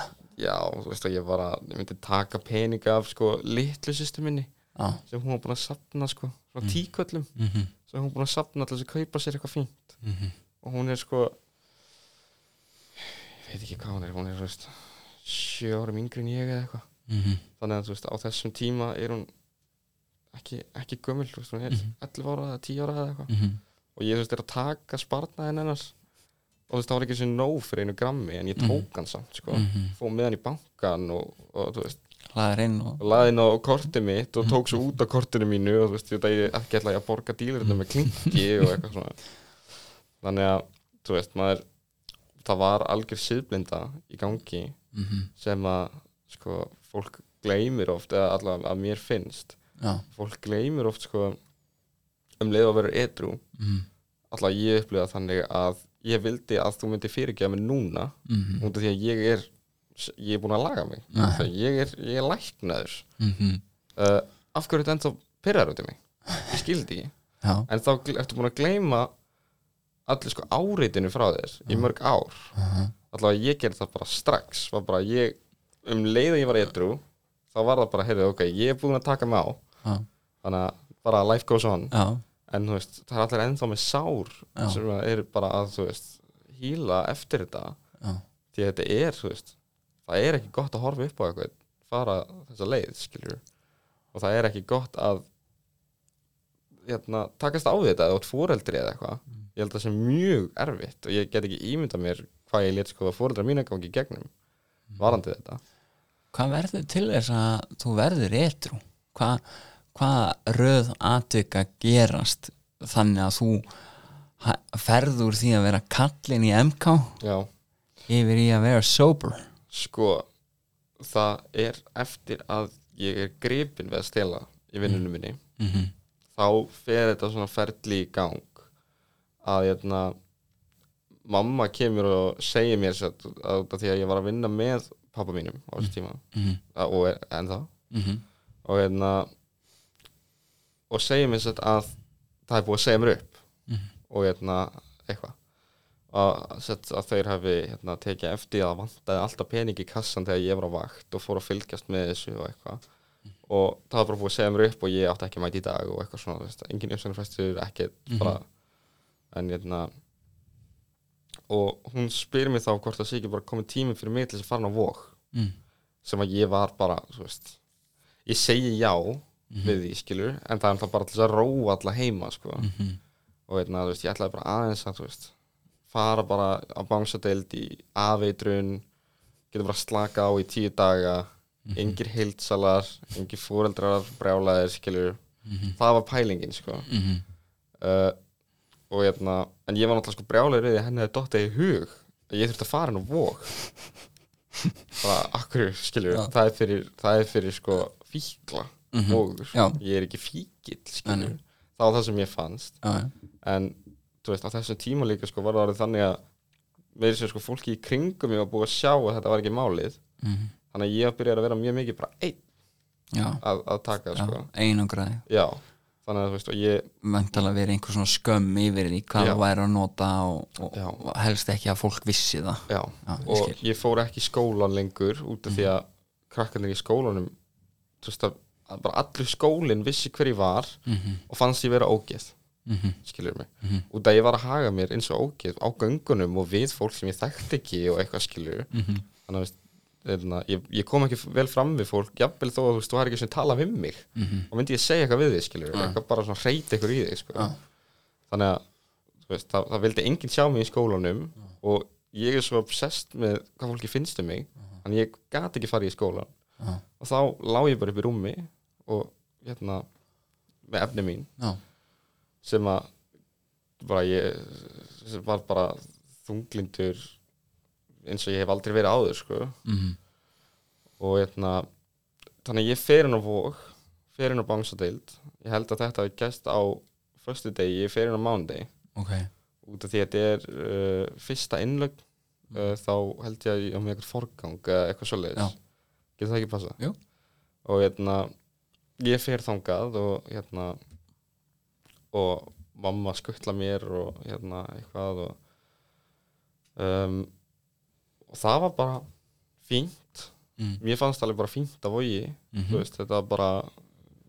já, þú veist að ég var að ég myndi taka peninga af sko litlu sýstu minni
já,
sem hún var búin að sapna sko
Mm.
svona tíköllum
mhm,
sem hún var búin að sapna til þess að kaupa sér eitthvað fínt
mhm
og hún er sko ég veit ekki hvað hún er, hún er þú veist sjö árum yngri en ég eða eitthvað
mhm,
þannig að þú veist á þessum tíma er hún ekki, ekki gömul, þú veist, hún er 11 ára eða 10 ára eða eitthvað
mhm,
og ég þú veist er að taka sparnaðin hennars og þú veist það var ekki sem nóg fyrir einu grammi en ég tók hann samt sko
mhm
fóð með hann í bankan og, og þú veist
hlaðir inn og
og laði hann á kortið mitt og tók svo út á kortinu mínu og þú veist þetta ég ekki ætla ég að borga dílurinn með klingi og eitthvað svona þannig að þú veist maður það var algjör síðblinda í gangi
mhm,
sem að sko fólk gleymir oft eða allavega að mér finnst
já,
fólk gleymir oft sko um leið að vera edru
mhm,
alltaf ég upplifa þannig að ég vildi að þú myndi fyrirgefa mig núna
mhm
út af því að ég er ég er búin að laga mig
Já.
Þegar ég er, ég er læknaður
mhm,
uh, af hverju þetta ennþá pyrrar út í mig ég skildi ekki,
já,
en þá gl- ertu búin að gleyma allir sko áreitinu frá þér í mörg ár
aha,
alltaf að ég gerði það bara strax var bara ég, um leið að ég var edru þá var það bara, heyrðu, ok, ég er búin að taka mig á
já,
þannig að bara life goes on
já
en þú veist, það er allir ennþá með sár
Já.
sem að eru bara að, þú veist hýla eftir þetta
já,
því að þetta er, þú veist það er ekki gott að horfa upp á eitthvað fara þessa leið, skiljur og það er ekki gott að hérna, takast á við þetta eða út fóreldri eða eitthvað
Mm.
ég held að það sé mjög erfitt og ég get ekki ímynda mér hvað ég sko, létt skoða fóreldra mína gangi í gegnum
Mm.
varandi þetta
hvað verður til þess að þú verður etru hvað, hvað röð atvika gerast þannig að þú ha- ferð úr því að vera kallin í MK
já,
yfir í að vera sober
sko það er eftir að ég er gripin við að stela í vinnunum minni
mm -hmm.
þá fer þetta svona ferli í gang að hérna mamma kemur og segir mér satt, að, að því að ég var að vinna með pappa mínum á þessu tíma
Mhm.
að, og er, en það
Mm -hmm.
og hérna og segir mér satt, að það er búið að segja mér upp
mhm,
og hérna eitthvað að, satt, að þeir hafi hérna, tekið eftir að það vantaði alltaf pening í kassan þegar ég var á vakt og fór að fylgjast með þessu og eitthvað og það var bara búið að segja mér upp og ég átti ekki að mæta í dag og eitthvað svona, þú veist, engin uppsæðanfæstur ekkert bara en hérna og hún spyr mér þá hvort það sé ekki bara komið tími fyrir mig til þess að fara á vók
Mm.
sem að ég var bara, þú veist ég segi já við því skilur, en það er alltaf bara til þess að róa alla heima, sko
Mhm.
og veitna, veist, ég ætlaði bara aðeins að þú veist, fara bara á bánsadeild í afeitrun geta bara slaka á í tíu daga
Mhm.
engir heildsalar engir fóreldrar, brjálaðir skilur, það var pælingin sko.
Mhm.
uh, og veitna, en ég var náttúrulega sko brjálaður við því að henni hefði dottið í hug að ég þurfti að fara henni á
[LAUGHS]
vók bara akkur skilur
Já.
það er fyrir, það er fyrir sko fíkla mm
Mhm. Já.
sko. ég er ekki fíkill skilur það var það sem ég fannst
Já, já.
en þú veist, á þessum tíma líka sko, var það orðið þannig að með þessu sko, fólki í kringum ég var búið að sjá að þetta var ekki málið
Mhm.
þannig að ég var byrjað að vera mjög mikið bara einn
já,
að, að taka
já.
sko.
einangraði
já, þannig að þú veist og ég,
vantala verið einhver svona skömm yfir því hvað
Já.
það væri að nota og, og,
Já.
og helst ekki að fólk vissi það
já,
Já, ég
og
skil. Mhm.
ég fór ekki í skólan lengur út af því að krakkarnir í skólanum þú veist að að bara allur skólinn vissi hver ég var
Mhm.
og fannst ég vera ógeð
Mhm.
skilur mig, út af ég var að haga mér eins og ógeð á göngunum og við fólk sem ég þekkti ekki og eitthvað skilur
Mhm.
þannig að veist, hérna, ég, ég kom ekki vel fram við fólk jafnvel þó að þú veist, þú er ekki sem tala við mig
Mhm.
og myndi ég segja eitthvað við þig skilur eitthvað bara svona reyta ykkur í þig sko.
Já.
þannig að þú veist, það, það vildi enginn sjá mig í skólanum og ég er svo obsessed með hvað fólki finnst um mig þannig að ég gat ekki farið í skólan
Já.
og þá lá ég bara upp í rúmi og hérna með efni mín
Já.
sem að bara ég sem var bara þunglindur eins og ég hef aldrei verið áður sko
Mhm.
og hérna þannig að ég fer inn á vóg fer inn á bánsadeild ég held að þetta hafi gæst á förstu degi, ég fer inn á mándegi
ok
út af því að þetta er uh, fyrsta innlögn
Mm.
uh, þá held ég að ég á með eitthvað forgang eða eitthvað svoleiðis
Já.
getur það ekki passa?
Jú.
og hérna ég fer þangað og hérna og mamma skuttla mér og hérna eitthvað og um, og það var bara fínt
Mm.
mér fannst alveg bara fínt að vogi
Mhm.
þú veist, þetta var bara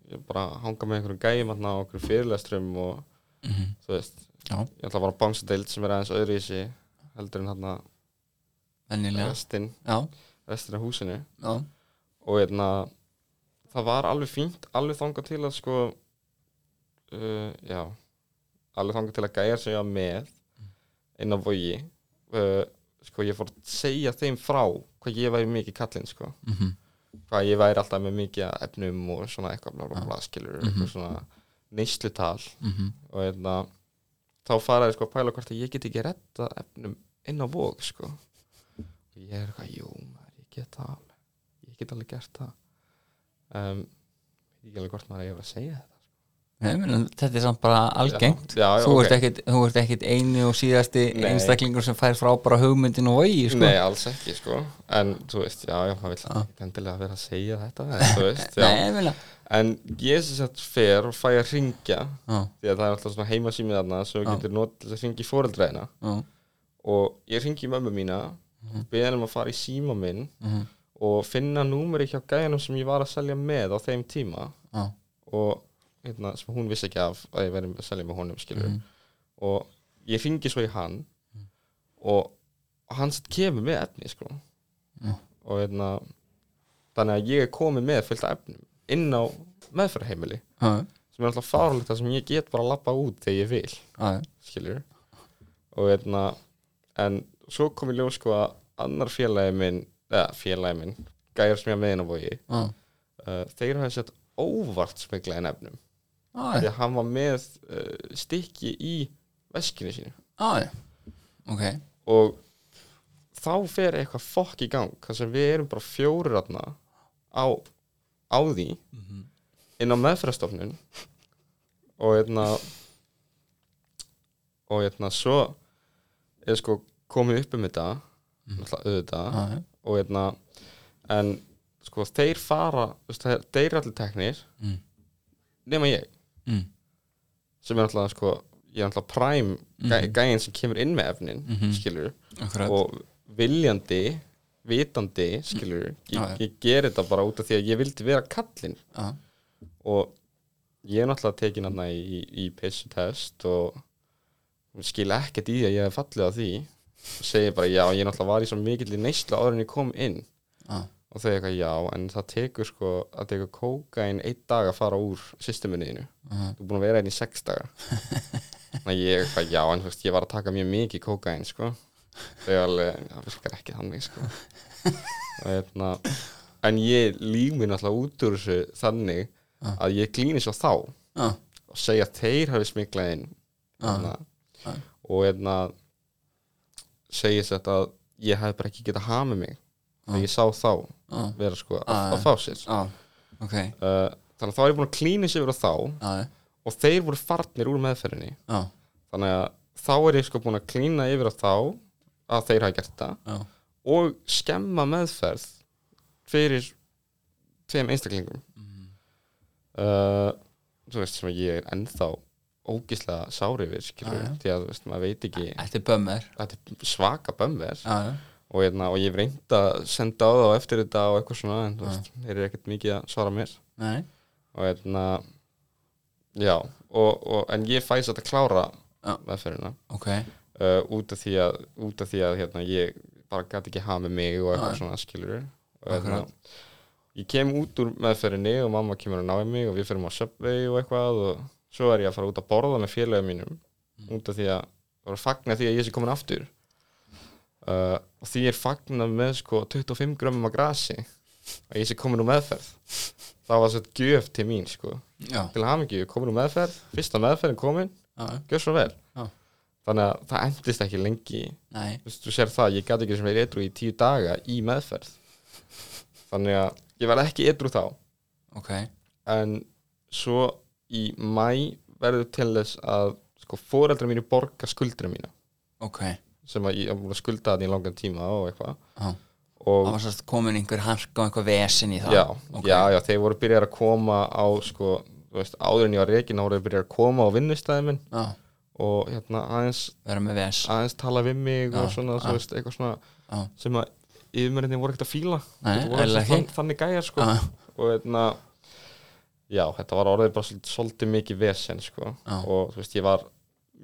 ég bara hanga með einhverjum gæjum hérna á einhverjum fyrirlestrum og
Mhm.
þú veist,
Já.
ég ætla að fara á bánsadeild sem er aðeins öðru í sig heldur en hérna
venjulega
restin,
já,
restin af húsinu
já,
og hérna það var alveg fínt, alveg þangað til að sko uh, já alveg þangað til að gæja sem ég var með inn á vogi uh, sko ég fór að segja þeim frá hvað ég væri mikið kallinn sko
Mhm.
hvað ég væri alltaf með mikið af efnum og svona eitthvað bla bla bla skilur
Mhm.
eitthvað svona neyslutal
Mhm.
og hérna þá faraði sko að pæla hvort að ég get ekki retta efnum inn á vók sko og ég er eitthvað, jú maður, ég get það alveg ég get alveg gert það um, ég get alveg hvort maður eigi að vera að segja þetta
Nei, meni, þetta er samt bara algengt
já, já,
þú,
ok.
ert ekkit, þú ert ekkit einu og síðasti
Nei.
einstaklingur sem fær frábara hugmyndin og vogi sko.
Nei, alls ekki sko en þú veist, já, já, maður vill
Já.
ekki endilega vera að segja þetta en, þú veist, já.
[LAUGHS] Nei, meni,
en ég sem sagt fer og fæ að ringja
já,
því að það er alltaf svona heimasýmið þarna sem
Já.
þú getur notið til að ringi fóreldræðina
já,
og ég ringi mömmu mína og beðið hann um að fara í síma minn
mhm,
og finna númeri hjá gæjanum sem ég var að selja með á þeim tíma
já,
og hérna, sem hún vissi ekki af að ég væri að selja með honum skilur
Mhm.
og ég ringi svo í hann og hann satt kemur með efni sko
Já.
og hérna þannig að ég er komið með fullt af efnum inn á meðferðarheimili
já,
sem er alltaf fárlegt það sem ég get bara að lappa út þegar ég
já,
vil skilur og hérna en svo kom ég ljós sko að annar félagi minn eða félagi minn, gæjar sem ég að meðin á
já,
vogi uh, þeir hafa sett óvart smegla en
já,
efnum því að hann var með uh, stykki í veskinu sínu
já, já. ok,
og þá fer eitthvað fokk í gang þar sem við erum bara fjórir aðna á, á því Mhm. inn á meðferðastofnun og hérna og hérna svo er sko komið upp um þetta náttúrulega auðvitað
Mhm. já, já,
og hérna en sko þeir fara þú veist, þeir þeir eru allir teknir
Mm.
nema ég
Mm.
sem er alltaf sko ég er alltaf prime
Mhm.
gæ, gæin sem kemur inn með efnin mm skilur
akkurat
og viljandi vitandi skilur ég,
Mhm. Já, já.
ég ger þetta bara út af því að ég vildi vera kallinn
já,
og ég er náttúrulega tekin hann í, í pissutest og skil ekkert í því að ég hef fallið á því og segi bara já, ég náttúrulega var í svo mikill í neysla áður en ég kom inn
já,
og þau eitthvað já, en það tekur sko að tekur kókain einn dag að fara úr systemuniðinu,
já,
þú er búin að vera einn í sex daga þannig að ég eitthvað já en þú veist, ég var að taka mjög mikið kókain sko, þau alveg það virkar ekki þannig sko og hérna, en ég líf mér náttúrulega út úr þessu þannig að ég glýni svo þá
já,
og segja að þeir hafi smiklað inn
Ah.
hérna,
Já.
og hérna segja sér að ég hef bara ekki getað hamið mig þegar ég sá þá
já,
vera sko að,
Já, já.
að fá sér uh,
já, ok, já,
þannig að þá er ég búin að klína sér á þá
já,
og þeir voru farnir úr meðferðinni
já,
þannig að þá er ég sko búin að klína yfir á þá að þeir hafa gert það
já,
og skemma meðferð fyrir tveim einstaklingum mm.
Mhm.
þú veist sem ég er ennþá ógislega sári yfir skilur,
Já, já.
því að þú veist, maður veit ekki
þetta er bömmir,
þetta er svaka bömmver
já, já,
og, hérna, og ég hef reynd að senda á þá eftir þetta og eitthvað svona en þú veist, þeir eru ekkert mikið að svara mér
nei,
og hérna já, og, og, en ég fæs að klára
Já.
meðferðina
ok,
uh, út af því að, út af því að hérna, ég bara gæti ekki hafa með mig og eitthvað svona skilur og hérna, ég kem út úr meðferðinni og mamma kemur að náði mig og við fyrir á Subway og eitthvað og svo er ég að fara út að borða með félagum mínum út af því að bara fagna því að ég sé komin aftur uh, og því er fagna með sko 25 grömmum af grasi að ég sé komin úr meðferð það var svo gjöf til mín sko
já,
til hamingju, ég er komin úr meðferð fyrsta meðferðin komin,
já, já,
gjör svo vel
Já.
þannig að það endist ekki lengi
nei,
þú veist, þú sér það, ég gæti ekki sem verið edru í tíu daga í meðferð þannig að ég verð ekki edru þá
ok,
en svo í mæ verður til þess að sko, foreldrar mínu borga skuldra mína
ok,
sem að ég er búin að skulda þetta í langan tíma og eitthvað
já,
og
það var sérst komin einhver harka og einhver vesen í það,
já,
ok,
já, já, þeir voru byrjar að koma á sko, þú veist, áður en ég var reikin þá voru þeir byrjar að koma á vinnustæði minn
já,
og hérna aðeins
vera með ves,
aðeins tala við mig og svona, þú veist, eitthvað svona
Já.
sem að yfirmörðinni voru ekkert að fíla
Nei,
Þetta voru
eðlilega
sem þann, þannig gæjar sko
Já.
og hérna já, þetta var orðið bara svolítið, svolítið mikið vesen sko og þú veist, ég var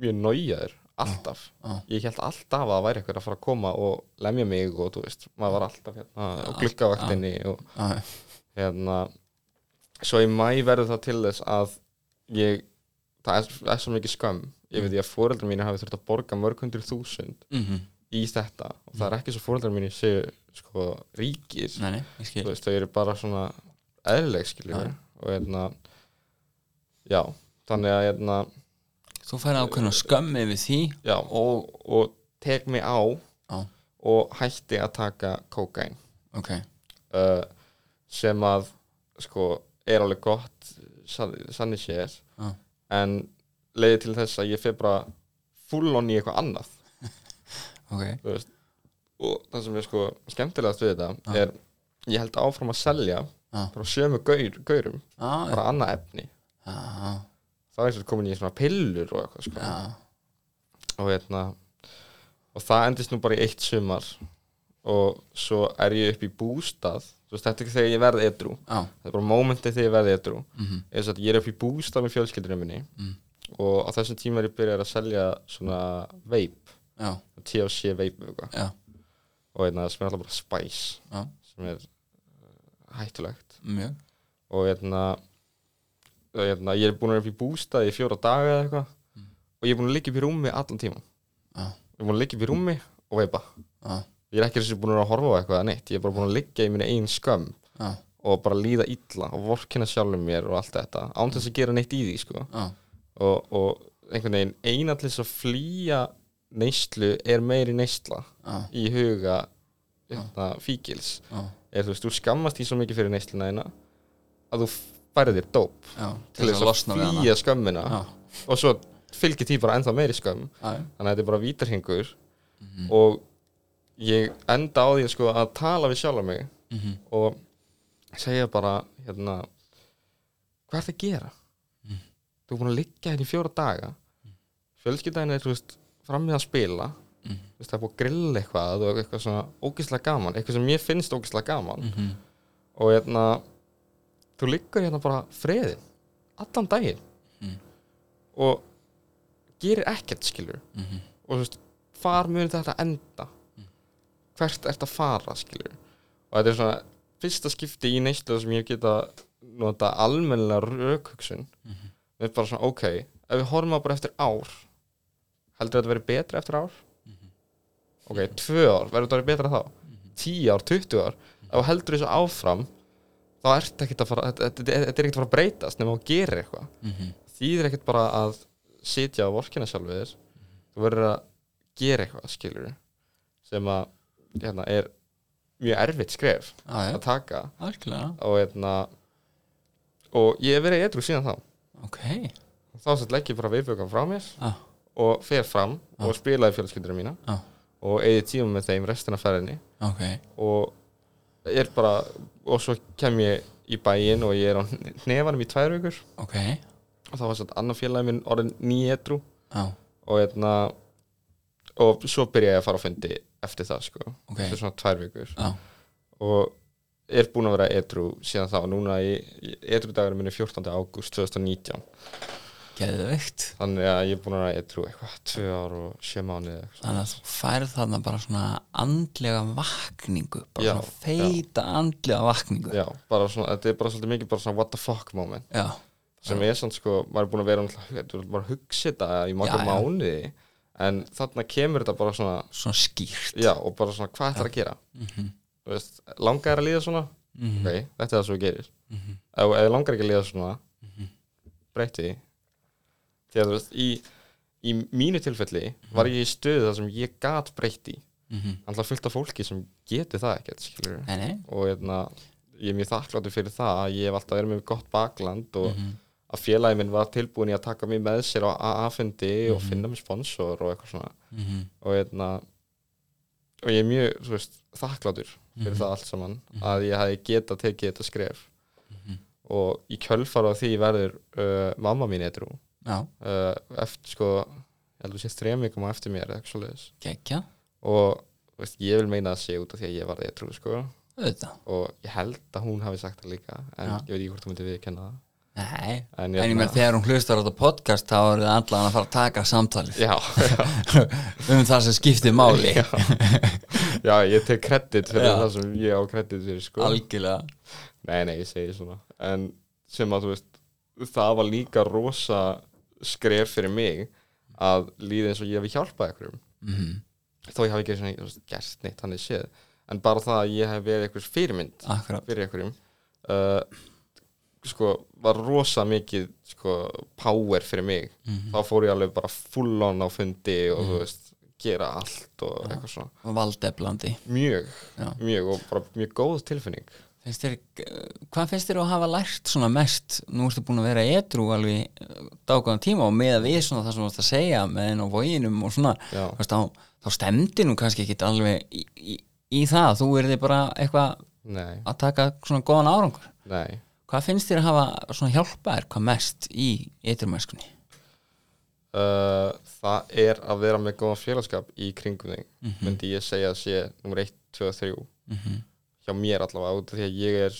mjög nájaður alltaf, ég held alltaf að það væri eitthvað að fara að koma og lemja mig og þú veist, maður var alltaf hérna á gluggavaktinni og
já, já,
hérna svo í mæ verður það til þess að ég, það er, er svo mikið skömm ég
Mm.
veit því að fóreldrar mínu hafi þurft að borga mörg hundru þúsund
mhm,
í þetta og það er ekki svo fóreldrar mínu séu sko ríkir
Mm. nei, nei, ég
Þú
skil,
veist, þau eru bara svona eðlileg skiljum og hérna já, þannig að hérna
þú færði ákveðna skömm yfir því,
já, og, og tek mig á
já,
og hætti að taka kókain
ok,
uh, sem að sko er alveg gott sannig sér
Já.
en leiði til þess að ég fer bara full on í eitthvað annað
ok,
þú veist. og það sem er sko skemmtilegast við þetta er ég held áfram að selja
Já.
bara sömu gaur, gaurum
já,
bara annað efni
já, já,
það er eins og komin í svona pillur og eitthvað sko.
já,
og hérna og það endist nú bara í eitt sumar og svo er ég upp í bústað Þú veist, þetta er ekki þegar ég verði edrú
já,
þetta er bara momentið þegar ég verði edrú
mhm,
eins og að ég er upp í bústað með fjölskyldurinn minni
Mm.
og á þessum tíma er ég byrjað að selja svona veip,
já,
THC veip og eitthvað.
já,
og einna sem er alltaf bara spæs
já,
sem er uh, hættulegt
mjög
og einna, og einna ég er búin að vera upp í bústað í fjóra daga eða eitthvað og ég er búin að liggja upp í rúmi allan tíma
já,
ég er búin að liggja upp í rúmi og veipa
já,
ég er ekki þessi búin að vera að horfa á eitthvað eða neitt ég er bara búin að liggja í minni einn skömm
já,
og bara líða illa og vorkina sjálfum mér og allt þetta án þess að gera neitt í því sko.
já,
og, og einhvern veginn einallis að flýja neyslu er meiri neysla
já,
í huga hérna, fíkils
já,
er þú veist, þú skammast því svo mikið fyrir neysluna þína að þú færið þér dóp
já
til þess að
losna við hana.
flýja skömmina
já,
og svo fylgir því bara ennþá meiri skömm
já, já,
þannig að þetta er bara vítarhingur
Mhm.
og ég enda á því sko, að tala við sjálf mig
mhm,
og segja bara hérna, hvað er það að gera
Mhm.
þú er búin að liggja hérna í fjóra daga fjölskyldaðin er þú veist, fram með að spila
Mhm.
þú veist, það er búin að grilla eitthvað og eitthvað svona ógislega gaman eitthvað sem mér finnst ógislega gaman
mhm,
og hérna þú liggur hérna bara freðin allan daginn
Mhm.
og gerir ekkert skilur
mhm,
og þú veist, hvar mun þetta enda hvert ert að fara skilur og þetta er svona fyrsta skipti í neyslu sem ég geta nota almennilega rökhugsun mm
Mhm.
við bara svona, ok, ef við horfum á bara eftir ár heldur þetta verið betra eftir ár ok, tvö ár, verður þetta verið betra þá tíu ár, tuttu ár, ef þú heldur þessu áfram þá ert ekkert að fara þetta, þetta, þetta, þetta er ekkert að fara að breytast nema þú gerir eitthvað
mhm,
þýðir ekkert bara að sitja á vorkina sjálfur þér þú verður að gera eitthvað skilur sem að hérna, er mjög erfitt skref
já, já,
að taka
algjörlega,
og, hérna, og ég hef verið edru síðan þá
ok,
þá sett legg ég bara viðbjökan frá mér
já,
og fer fram og spilaði fjölskyldurum mína
já,
og eigið tíma með þeim restina af ferðinni
ok,
og ég er bara og svo kem ég í bæinn og ég er á hnefanum í tvær vikur
ok,
og þá var satt annar félagi minn orðin nýjedru
já,
og hérna og svo byrja ég að fara á fundi eftir það sko,
ok,
þetta er svona tvær vikur
já,
og er búin að vera edru síðan þá, núna í edru dagur minni 14. ágúst 2019
geðveikt.
þannig að ég er búin að vera edru eitthvað, tvö ár og sjö mánuði eða eitthvað.
Þannig að þú færð þarna bara svona andlega vakningu, bara
Já,
svona feita andlega vakningu.
já, bara svona, þetta er bara svolítið mikið bara svona what the fuck moment
Já,
sem er svona sko, maður er búin að vera náttúrulega- þetta er bara að hugsa þetta í marga
Já, já.
mánuði en þarna kemur þetta bara svona
svona skýrt.
já, og bara svona hvað ætlar að gera
Mhm,
Þú veist, langar þér að líða svona
mhm,
ok, þetta er það sem þú gerir
mhm,
ef ef þið langar ekki að liða svona mm
Mhm.
breyti því því að þú veist, í, í mínu tilfelli var ég í stöðu þar sem ég gat breytti
mhm.
alltaf fullt af fólki sem geti það ekkert skilur.
Nei, nei,
og hérna, ég er mjög þakkláttur fyrir það að ég hef alltaf verið með gott bakland og
Mhm.
að félagi minn var tilbúin í að taka mig með sér á AA-fundi og finna mig sponsor og eitthvað svona
mhm,
og hérna og ég er mjög, þú veist, þakkláttur fyrir
Mhm.
það allt saman, að ég hafi geta tekið þetta skref
Mhm.
og í kjölfar á því verður uh, mamma mín eitrú
já,
uh, eftir sko, ég heldur sér stremikum á eftir mér, eða eitthvað svoleiðis
geggja,
og þú veist, ég vil meina að sé út af því að ég varði eitrú, sko,
auðvitað.
og ég held að hún hafi sagt það líka, en
Já.
ég veit ekki hvort þú myndi viðkenna það
Nei,
En hérna,
en ég
ég-
meðan þegar hún hlustar á þetta podcast þá er það allan að fara að taka samtalið
Já,
[LAUGHS] um það sem skiptir máli
já, já, [LAUGHS] ég tek kredit fyrir
Já.
það sem ég á kredit fyrir, sko
algjörlega
Nei, nei, ég segi svona En sem að þú veist Það var líka rosa skref fyrir mig Að líða eins og ég hefði hjálpað ekkur
mm
Þó ég hafi ekki svona, þú veist, gert neitt Þannig séð En bara það að ég hef verið eitthvað fyrirmynd
Akkurat,
Fyrir ekkur uh, Sko, var rosa mikið Sko, power fyrir mig Þá fór ég alveg bara full on á fundi Og þú veist, gera allt Og eitthvað svona
valdeflandi
Mjög,
Já.
mjög og bara mjög góð tilfinning
finnst þér, Hvað finnst þér að hafa lært svona mest? Nú ertu búin að vera edru alveg dágóðan tíma og með að við svona það sem þú varst að segja með henn og voginum og svona
Já.
þú veist, þá, þá stemdi nú kannski ekki alveg í, í, í það þú er þið bara eitthvað
Nei,
að taka svona góðan árangur
nei
Hvað finnst þér að hafa svona hjálpa þér hvað mest í ytrumæskunni?
Uh, það er að vera með góðan félagskap í kringum þig myndi ég segja að sé nummer 1, 2 og 3
Mm -hmm.
hjá mér allavega út af því að ég er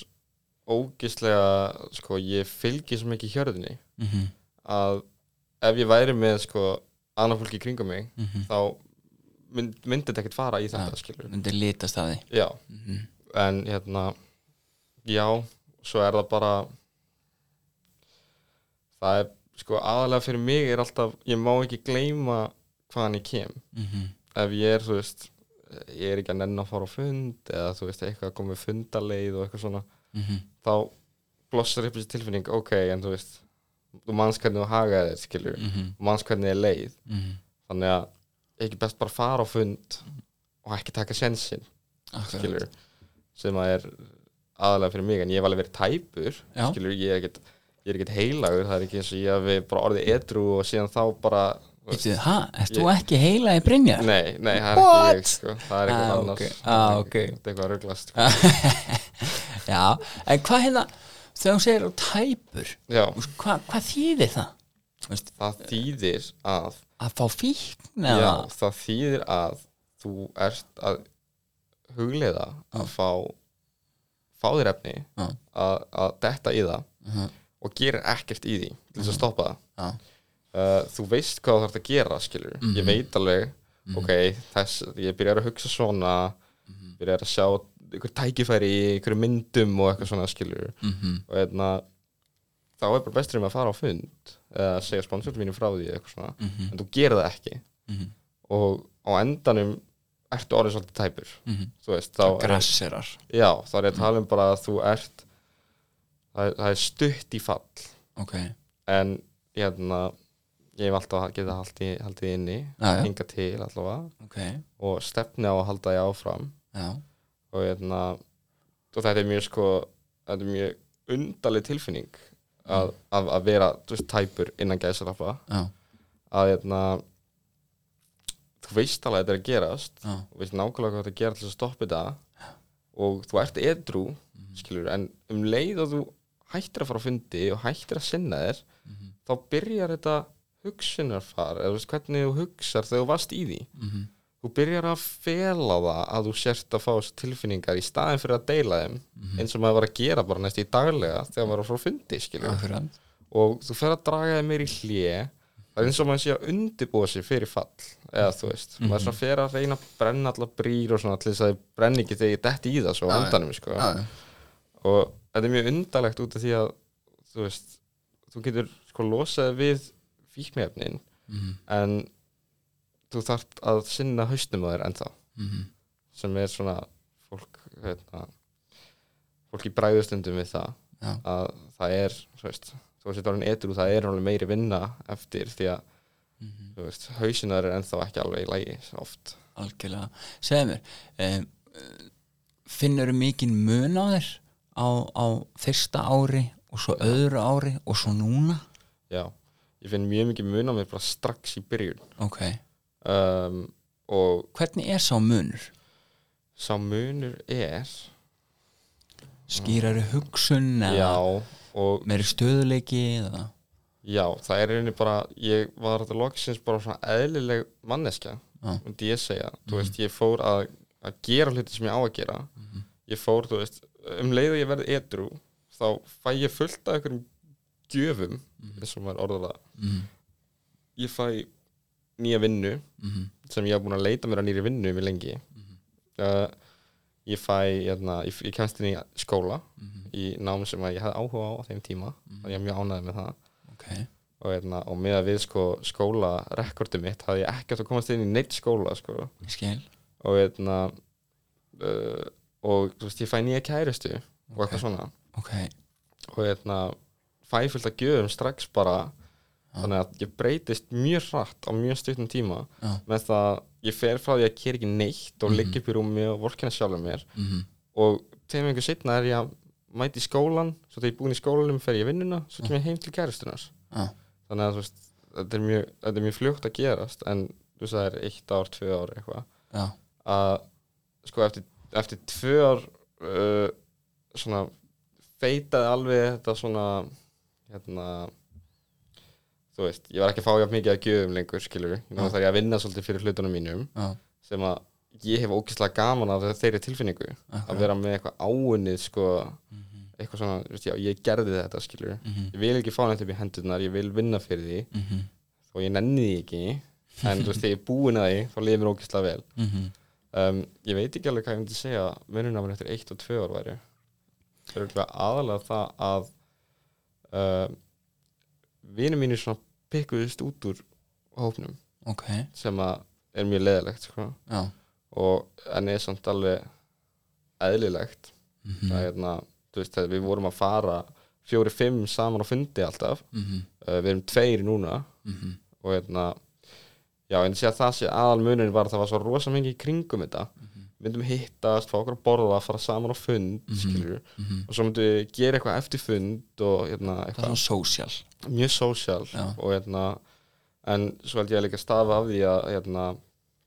ógislega, sko, ég fylgi svo mikið hjörðinni
mm -hmm.
að ef ég væri með, sko, annað fólki í kringum mig
Mm -hmm.
þá mynd, myndi þetta ekkert fara í þetta, skilur
undir litast af því
Já,
mm -hmm.
en hérna já, svo er það bara það er sko aðalega fyrir mig er alltaf, ég má ekki gleyma hvaðan ég kem
mhm,
ef ég er, þú veist, ég er ekki að nenn að fara á fund eða þú veist, eitthvað að koma með fundaleið og eitthvað svona
mhm,
þá blossar upp þessi tilfinning, ok, en þú veist þú manns hvernig þú hagaði þér, skilur mm.
mhm,
manns hvernig er leið, þannig að ekki best bara fara á fund og ekki taka sjensin skilur sem að er aðalega fyrir mig en ég hef alveg verið tæpur
Já.
skilur, ég er ekkert ég er ekkert heilagur, það er ekki eins og ég hafi bara orðið edru og síðan þá bara þú veist,
Býttu, ha, ert þú ekki heila í Brynjar?
nei, nei, það er
What?
ekki ég sko, það er eitthvað
Ah,
annars
ok. Ah, ok. Ah.
þetta er eitthvað rugglast sko.
Já, en hvað hérna þegar hún segir á tæpur
já,
þú veist, hvað, hvað þýðir það? Þú Veist,
það þýðir að
að fá fíkn
já,
eða
það þýðir að þú ert að hugleiða að fá fá þér efni
Já.
að, að detta í það
Mhm.
og gerir ekkert í því til
Uh-huh.
þess að stoppa það
Já.
uh, þú veist hvað þú þarf að gera skilur
Uh-huh.
ég veit alveg ok, þess, ég byrjar að hugsa svona
Uh-huh.
byrjar að sjá ykkur tækifæri í ykkur myndum og eitthvað svona skilur
Mhm.
og hérna þá er bara bestur um að fara á fund eða segja sponsortum mínum frá því eða eitthvað svona en þú gerir það ekki
Mhm.
og á endanum ertu orðið svolítið tæpur
Mhm.
þú veist, þá er-
grasserar
já, þá er ég að tala um bara að þú ert það er, það er stutt í fall
ok,
en hérna ég hef alltaf að geta haldið, haldið inni
Já, já.
hinga til allavega
ok,
og stefni á að halda ég áfram
já
og hérna og þetta er mjög sko þetta er mjög undaleg tilfinning að, að, að vera þú veist, tæpur innan gæsarappa
já,
að hérna þú veist alveg að þetta er að gerast
já,
þú veist nákvæmlega hvað þetta er að gera til þess að stoppa þetta og þú ert edru skilur, en um leið að þú hættir að fara á fundi og hættir að sinna þér þá byrjar þetta hugsunarfar eða þú veist hvernig þú hugsar þegar þú varst í því
mhm,
þú byrjar að fela það að þú sért að fá þessu tilfinningar í staðin fyrir að deila þeim eins og maður var að gera bara næst í daglega þegar maður var að fara á fundi skilur
akkurat
og þú fer að draga þig meir í hlje það er eins og maður sé að undirbúa sig fyrir fall eða þú veist,
Mhm.
maður er svona fer að reyna að brenna allar brýr og svona til þess að þið brenni ekki þegar ég detti í það svo á
Já, já.
andanum sko.
já, já.
og þetta er mjög undarlegt út af því að þú veist, þú getur sko losað þig við fíkmefnin
mhm,
en þú þarft að sinna haustum á þér ennþá
mhm,
sem er svona fólk hérna, fólk í bræðustundum við það
Já.
að það er þú veist, þú veist, orðin edru, það er alveg meiri vinna eftir því að
mhm,
þú veist, hausinar er ennþá ekki alveg í lægi oft,
algjörlega segðu mér um, finnur mikið mun á þér á, á fyrsta ári og svo öðru ári og svo núna
já ég finn mjög mikið mun á mér bara strax í byrjun
ok,
um, og
hvernig er sá munur?
sá munur er
skýrari hugsun
já,
eða
og
meiri stöðuleiki eða
já, það er einnig bara ég var þetta loksins bara svona eðlileg manneskja,
Já. Mhm.
myndi ég segja þú veist, ég fór að, að gera hluti sem ég á að gera
Mhm,
ég fór, þú veist, um leið og ég verði edru þá fæ ég fullt af einhverjum gjöfum,
Mhm.
eins og maður orðar það
mm,
ég fæ nýja vinnu
mm,
sem ég hef búin að leita mér að nýri vinnu mjög lengi uh, ég fæ hérna, ég, ég kemst inn í skóla
mhm,
í nám sem að ég hafði áhuga á á þeim tíma þannig ég er mjög ánægði með það
ok,
og, hérna, og með að við sko skóla rekordum mitt hafði ég ekki átt að komast inn í neitt skóla sko.
ég skil
og hérna uh, og þú veist ég fæ nýja kærustu og eitthvað svona
ok,
og hérna fæ fullt að gjöfum strax bara þannig að ég breytist mjög hratt á mjög stuttum tíma
Já.
með það að ég fer frá því að gera ekki neitt og liggja upp í rúmi og vorkina sjálfum mér
mhm,
og tegum einhver setna er ég að mæti í skólan svo þegar ég er búin í skólanum fer ég í vinnuna svo kem ég heim til kærustunar
já,
þannig að þú veist þetta er mjög, þetta er mjög fljótt að gerast en þú veist það er eitt ár, tvö ár eitthvað
já
að sko eftir, eftir tvö ár uh, svona feitaði alveg þetta svona hérna þú veist, ég var ekki að fá jafn mikið að gjöfum lengur skilur, nú
Já.
þarf ég að vinna svolítið fyrir hlutunum mínum
já,
sem að ég hef ógeðslega gaman af þeirri tilfinningu að vera með eitthvað áunnið sko,
Mhm,
eitthvað svona, þú veist, já, ég gerði þetta skilur, ég vil ekki fá neitt upp í hendurnar ég vil vinna fyrir því
Mhm.
og ég nenni því ekki en þú veist, þegar ég er búin að því, þá liður mér ógeðslega vel
Mhm.
um, ég veit ekki alveg hvað ég myndi segja mununafn eftir 1 og 2 ár væri það er örugglega aðalega það að um, vinur mínir svona pikkuðust út úr hópnum
ok,
sem að er mjög leðilegt sko.
já
og en er samt alveg eðlilegt
Mhm.
það er hérna, þú veist, þegar við vorum að fara fjóri-fimm saman á fundi alltaf
Mhm.
uh, við erum tveir núna
Mhm.
og hérna já, en sé að það sé aðal munin var að það var svo rosa mingi í kringum þetta myndum hittast, fá okkur að borða fara saman á fund, mm
Mhm. Mhm.
og svo myndum við gera eitthvað eftir fund og hérna,
það er
eitthvað
svona social
mjög sósjál
Já.
og hérna en svo held ég að líka stafa af því að hérna,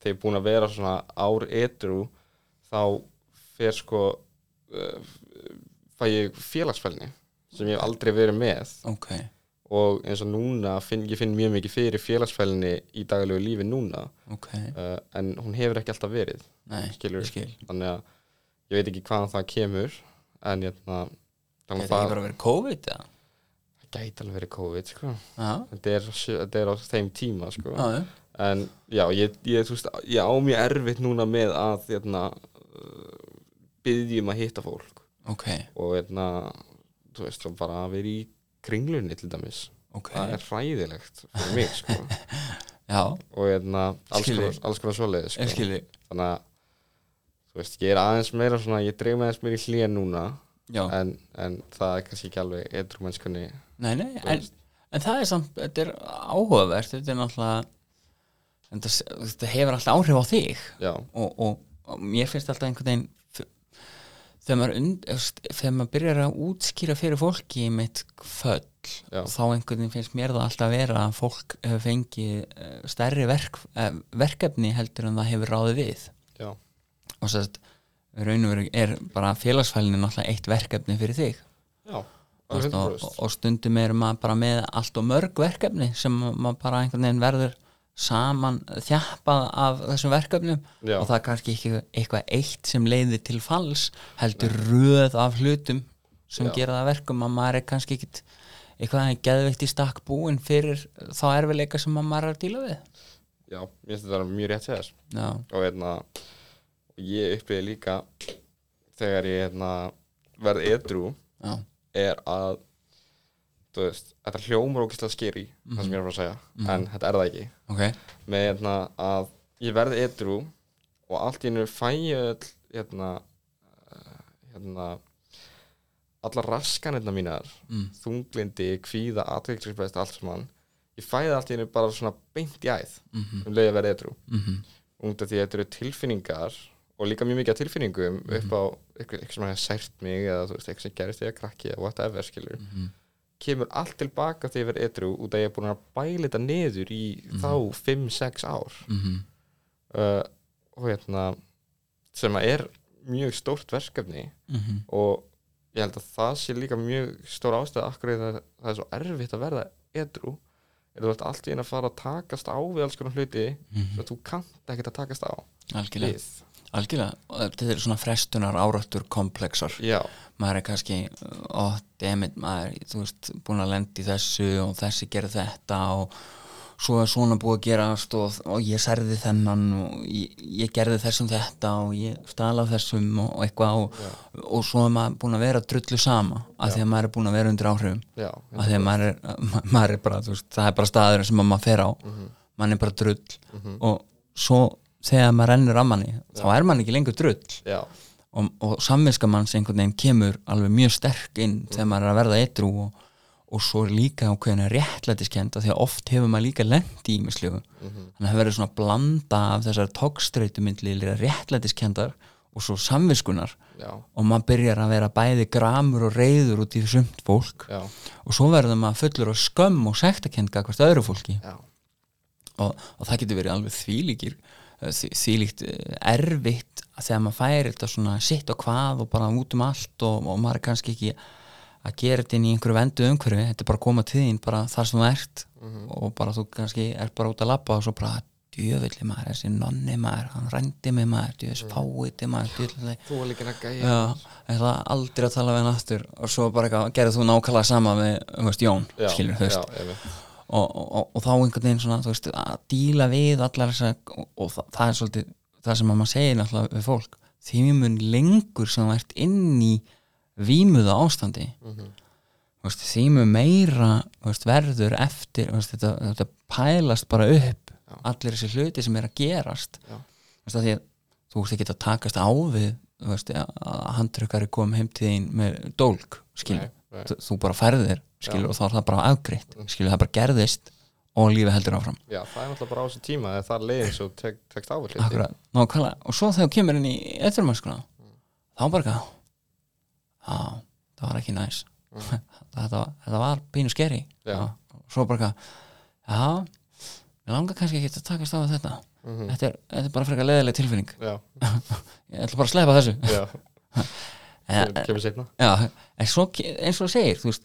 þegar ég er búin að vera svona ár etru þá fer sko uh, fæ ég félagsfælni sem ég hef aldrei verið með
ok,
og eins og núna finn, ég finn mjög mikið fyrir félagsfælni í daglegu lífi núna
ok,
uh, en hún hefur ekki alltaf verið
nei,
Skilur.
ég skil
þannig að ég veit ekki hvaðan það kemur en hérna
Gæti
þannig að
ekki
það
bara verið COVID eða?
gæti alveg verið COVID sko.
Já,
þetta er, þetta er á þeim tíma sko.
já, já.
en já, ég, ég, þú veist, ég á mjög erfitt núna með að hérna, byggjum að hitta fólk
ok,
og hérna, þú veist, og bara að vera í kringlunni til dæmis
ok
það er hræðilegt fyrir mig sko.
Já,
og hérna, alls
Skil ég.
konar, alls konar svoleiði
ég
sko.
skil þig
þannig að þú veist, ég er aðeins meira svona, ég dreif með aðeins meira í hlýja núna
Já,
en, en það er kannski ekki alveg edru mennskunni
nei, nei,
þú
en,
veist.
en það er samt þetta er áhugavert, þetta er náttúrulega en það, þetta hefur alltaf áhrif á þig
já,
og, og, og mér finnst alltaf einhvern veginn f- þegar maður, und, efst, þegar maður byrjar að útskýra fyrir fólki mitt föll
Já.
þá einhvern veginn finnst mér það alltaf vera að fólk hefur fengið eh, stærri verk, eh, verkefni heldur en það hefur ráðið við
já,
og sérst raun og veru er bara félagsfælni náttúrulega eitt verkefni fyrir þig
já
Þú veist, og,
100%.
og stundum er maður bara með allt og mörg verkefni sem maður bara einhvern veginn verður saman þjappað af þessum verkefnum
Já.
og það er kannski ekki eitthvað eitt sem leiðir til fals heldur röð af hlutum sem
Já.
gera það að verkum að maður er kannski ekkit eitthvað geðveikt í stakk búin fyrir þá erfileika sem að maður er að díla við
já, mér finnst þetta mjög rétt hjá þess
Já,
og hérna ég upplýði líka þegar ég hérna, verð edru
já,
er að þú veist, þetta hljómar ógeðslega skeri það sem ég er að fara að segja,
Mhm.
en þetta er það ekki
ok
með hérna, að ég verð edru og allt í hennu fæ ég öll hérna, eh, hérna allar raskanirna mínar
Mm.
þunglindi, kvíða, atveikslisbæðist allt saman, ég fæ það allt í hennu bara svona beint í æð
mm -hmm.
um leið að verða edru
Mm -hmm.
út af því að þetta eru tilfinningar og líka mjög mikið af tilfinningum upp á eitthvað, eitthvað sem hefði sært mig eða þú veist, eitthvað sem gerist þegar krakki eða whatever skilur
mhm,
kemur allt tilbaka þegar ég verð etru út af að ég er búin að bæla þetta niður í þá 5-6 ár
mhm,
uh, og hérna sem að er mjög stórt verkefni
mhm.
og ég held að það sé líka mjög stór ástæða akkur það, það er svo erfitt að verða edru er þú ert allt í einu að fara að takast á við alls konar hluti
Mhm.
sem þú kannt ekkert að takast á
Algjörlega,
við
algjörlega Og þetta er svona frestunar áráttur komplexar
Já,
maður er kannski ó, demit, maður, þú veist, búin að lenda í þessu og þessi gerði þetta og svo er svona búið að gerast og, og ég særði þennan og ég, ég gerði þessum þetta og ég stala þessum og, og eitthvað og, og svo er maður búin að vera drullu sama af því að maður er búin að vera undir áhrifum
já,
af því að maður er, ma- maður er bara þú veist, það er bara staður sem að maður fer á mm maður er bara drull og svo þegar maður rennur að manni þá er maður ekki lengur drull
já,
og, og samvinskamanns einhvern veginn kemur alveg mjög sterk inn þegar maður er að verða eitru og, og svo er líka ákveðin réttlætiskend af því að oft hefur maður líka lent í ímislegu þannig að það verður svona blanda af þessar tókstreytumindli réttlætiskendar og svo samvinskunar
já,
og maður byrjar að vera bæði gramur og reyður út í sumt fólk
já,
og svo verður maður fullur á skömm og sektakend gagvart öðru fólki
já,
og, og það getur verið alveg þvílíkir eh, því- þvílíkt eh, erfitt að þegar maður færi þetta svona sitt og hvað og bara út um allt og, og maður er kannski ekki að gera þetta inn í einhverju vendu umhverfi þetta er bara að koma til þín bara þar sem þú ert og bara þú kannski er bara út að labba og svo bara djöfulli maður, þessi nonni maður hann rændi mig maður, djöfis fáiði maður djöfulli
Þú var líka að gæja
Já, ég ætla aldrei að tala við hann aftur og svo bara eitthvað, gerði þú nákvæmlega sama með, þú veist, Jón, skilur, þú veist
já, einmitt.
og, og, og, og þá einhvern veginn svona, þú veist, að díla við allar þessar, og, og það, það er svolítið það sem að maður segir náttúrulega við fólk því mun lengur sem það ert inn í vímuða ástandi þú veist, því mun meira þú veist, verður eftir þú veist, þetta, þetta pælast bara upp
Já.
allir þessi hluti sem er að gerast
Já.
þú veist, að því að þú veist ekki að takast á við þú veist, að handrökkari kom heim til þín með dólk, skilur
Nei, nei. Mm.
þú- þú bara ferðir, skilur, og þá er það bara afgreitt skilur, það bara gerðist og lífi heldur áfram
já, það er náttúrulega bara á þessu tíma þegar það er leiðin svo tek, tekst á við hluti.
Akkurat, nákvæmlega og svo þegar þú kemur inn í eftirmennskuna þá bara eitthvað á, það var ekki næs [LAUGHS] þetta, var- þetta var pínu skeri
Já.
og svo bara eitthvað já, ég langar kannski ekki að takast á við þetta
Mm.
þetta, er, þetta er bara frekar leðileg tilfinning
Mhm. Já,
ég ætla bara að sleppa þessu [LAUGHS]
já,
Eh, en,
kemur seinna.
Já, en svo, ke- eins og þú segir þú veist,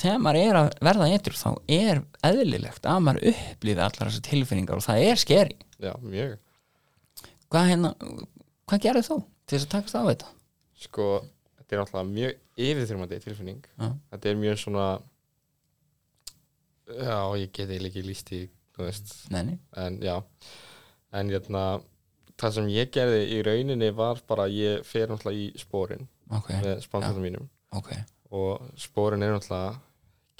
þegar maður er að verða eitur þá er eðlilegt að maður upplýði allar þessar tilfinningar og það er skeri
Já, mjög.
hvað, hérna, hvað gerir þú til þess að takast á þetta?
Sko, þetta er náttúrulega mjög yfirþyrmandi tilfinning.
Já.
Þetta er mjög svona, já, ég geti ekki líst í, þú veist,
Nei, nei.
en já, en hérna, það sem ég gerði í rauninni var bara að ég fer náttúrulega í spórin
ok,
með spanskjöldum mínum
ok,
og spórin er náttúrulega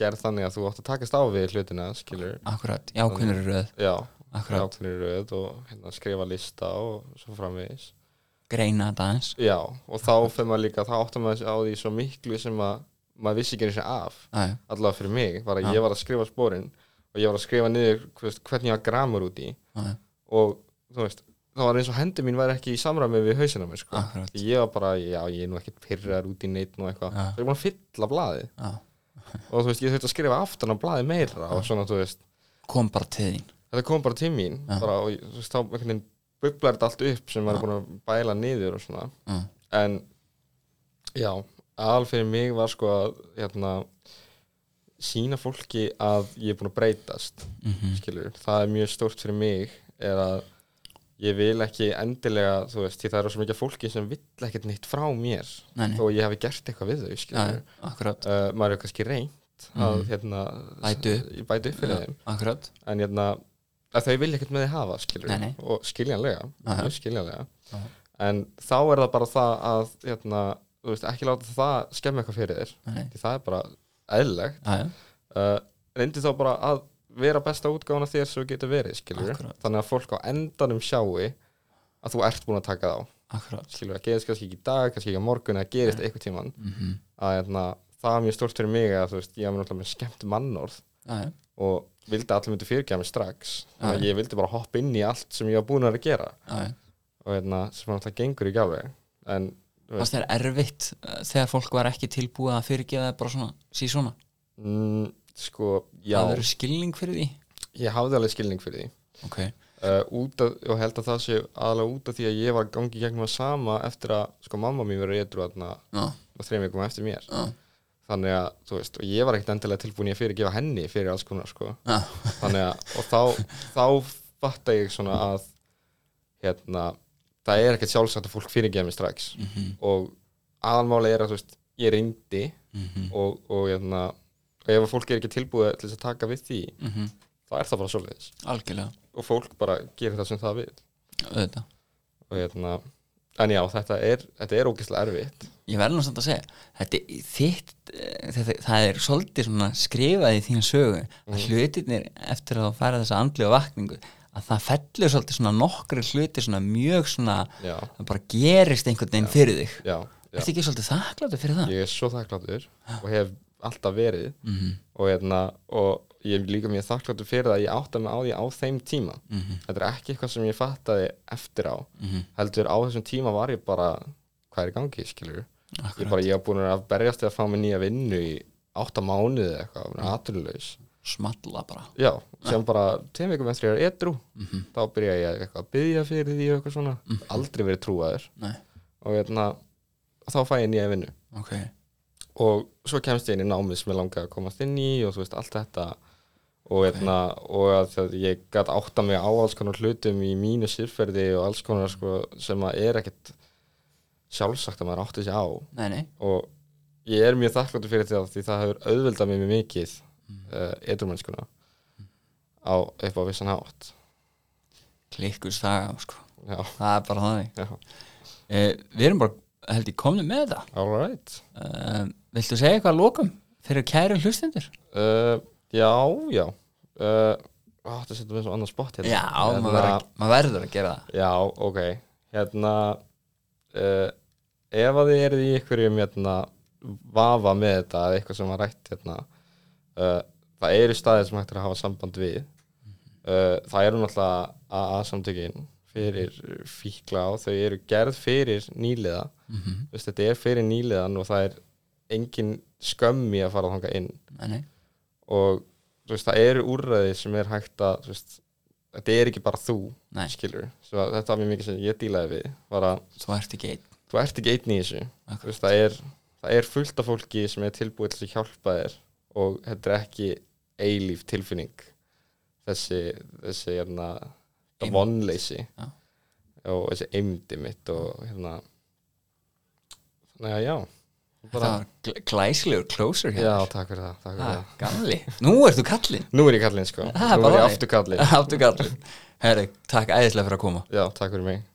gerð þannig að þú átt að takast á við hlutina, skilur,
akkurat, já, hvernig er röð
já,
akkurat,
ákveðin röð og hérna, skrifa lista og svo framvegis.
greina þetta aðeins
Já, og þá fyrir maður líka, þá áttum maður sig á því svo miklu sem að maður vissi ekki eins og af,
já, já,
allavega fyrir mig, var að ég var að skrifa spórin og ég var að skrifa niður þú veist, hvernig ég var gramur út í
já, já,
og þú veist, þá var eins og hendi mín væri ekki í samræmi við hausina mér, sko.
Akkurat.
Ég var bara, já, ég er nú ekkert pyrrar út í neitt og eitthvað.
Já.
Það er búin að fylla blaði
já.
og þú veist, ég þurfti að skrifa aftan á blaði meira og svona, þú veist,
kom bara til þín
þetta kom bara til mín
Já.
bara, og ég- þú veist, þá einhvern veginn bublar þetta allt upp sem maður er búin að bæla niður og svona
já,
en já, aðal fyrir mig var sko að hérna, sína fólki að ég er búin að breytast
mm
skilur, það er mjög stórt fyrir mig er að ég vil ekki endilega, þú veist, því það eru svo mikið af fólki sem vill ekkert neitt frá mér
Nei, nei.
og ég hafi gert eitthvað við þau
já,
skilur,
já, akkurat,
uh, maður er kannski reynt að hérna,
Bæta upp.
ég bæti upp fyrir þeim
akkurat
en hérna að þau vilja ekkert með þið hafa skilur
Nei, nei.
og skiljanlega,
Já, já.
mjög skiljanlega.
Já.
en þá er það bara það að hérna, þú veist, ekki láta það skemmi eitthvað fyrir þér,
Nei, nei.
því það er bara eðlilegt,
já, já,
uh, reyndi þá bara að vera besta útgáfuna þér sem þú getur verið skilur,
Akkurat.
þannig að fólk á endanum sjái að þú ert búin að taka þá
akkurat
skilur, það gerist kannski ekki í dag, kannski ekki á morgun eða gerist eitthvað tíman
mm -hmm.
að hérna, það er mjög stórt fyrir mig að þú veist, ég er náttúrulega með skemmt mannorð
já, já,
og vildi að allir myndi fyrirgefa mig strax þannig að ég vildi bara hoppa inn í allt sem ég var búin að vera að gera
já, já
og hérna, sem hann alltaf gengur í gafi en
Fast það er erfitt eh, þegar fólk var ekki tilbúið að fyrirgefa það bara svona, sí svona
mm, sko, já,
Það verður skilning fyrir því
ég hafði alveg skilning fyrir því
Ok,
uh, út af, og held að það sé aðalega út af því að ég var að gangi í gegnum að sama eftir að, sko, mamma mín verið reytur þarna
já,
og þreim vikum eftir mér
já,
þannig að, þú veist, og ég var ekkert endilega tilbúin í að fyrirgefa henni fyrir alls konar, sko
já,
þannig að, og þá, þá fatta ég svona að hérna, það er ekkert sjálfsagt að fólk fyrirgefa mig strax og aðalmáli er að, þú veist, ég reyndi og, og hérna og ef að fólk er ekki tilbúið til þess að taka við því
mhm,
þá er það bara svoleiðis
algjörlega,
og fólk bara gerir það sem það vil
auðvitað
og hérna, en já, þetta er þetta er ógeðslega erfitt
Ég verður nú samt að segja, þetta er þitt, eh, þetta, það er svolítið svona skrifað í þín sögu
Mm.
að hlutirnir eftir að þú færa þessa andlega vakningu að það fellur svolítið svona nokkri hluti svona mjög svona
já,
það bara gerist einhvern veginn fyrir þig
já, já,
Ertu ekki svolítið þakkláttu fyrir það?
ég er svo þakkláttur og hef alltaf verið
Mhm.
og hérna, og ég er líka mjög þakkláttur fyrir það að ég átta mig á því á þeim tíma þetta er ekki eitthvað sem ég fattaði eftir á,
Mhm.
heldur á þessum tíma var ég bara, hvað er í gangi, skilur ég
Akkurat.
bara, ég var búin að berjast við að fá mig nýja vinnu í átta mánuði eða eitthvað, búin að aturlaus
Smalla bara Mhm,
Já, sem bara tveim vikum eftir ég er edru þá byrja ég eitthvað að byggja fyrir því og eitthvað svona, aldrei verið trúaður
Nei,
og hérna, þá fæ ég nýja vinnu
ok,
og svo kemst ég inn í námið sem ég langaði að komast inn í og þú veist, allt þetta og, hérna, og að það, ég gæt átta mig á alls konar hlutum í mínu sérferði og alls konar sko, sem að er ekkert sjálfsagt að maður átti sig á
nei, nei,
og ég er mjög þakkláttur fyrir þetta því það hefur auðveldað mér mjög mikið mm. uh, edrumennskuna á upp á vissan hátt
klikkus það á, sko.
já,
það er bara þannig
já,
uh, við erum bara held ég komnum með það
all right
uh, viltu segja eitthvað að lokum fyrir kæru hlustendur
uh, já, já uh, á, það setur mér svo annað spott hérna
já,
Hérna,
maður verður, að- maður verður að gera það
Já, ok Hérna uh, Ef að þið eruð í einhverjum hérna, vafa með þetta eða eitthvað sem var rætt hérna, uh, það eru staðið sem hægt er að hafa samband við uh, það eru náttúrulega AA samtökin fyrir fíkla og þau eru gerð fyrir nýliða mm -hmm. þetta er fyrir nýliðan og það er engin skömmi að fara þangað inn
nei, nei,
og þú veist, það eru úrræði sem er hægt að þú veist, þetta er ekki bara þú
Nei.
skilur, svo að þetta var mjög mikið sem ég dílaði við var að
þú ert ekki einn
þú ert ekki einn í þessu
Akkurat.
Þú veist, það, er, það er fullt af fólki sem er tilbúið til að hjálpa þér og þetta er ekki eilíf tilfinning þessi, þessi hérna,
Eymd.
vonleysi
Já.
og þessi eimdi mitt og hérna þannig að já
það var gl- glæsilegur closer
já,
hér
takk fyrir það, takk fyrir
Ah,
það.
gamli, nú ert þú kallinn
Nú er ég kallinn sko,
Það er bara
nú er ég
þannig.
aftur kallinn
aftur kallinn, herri, takk æðislega fyrir að koma
Já, takk fyrir mig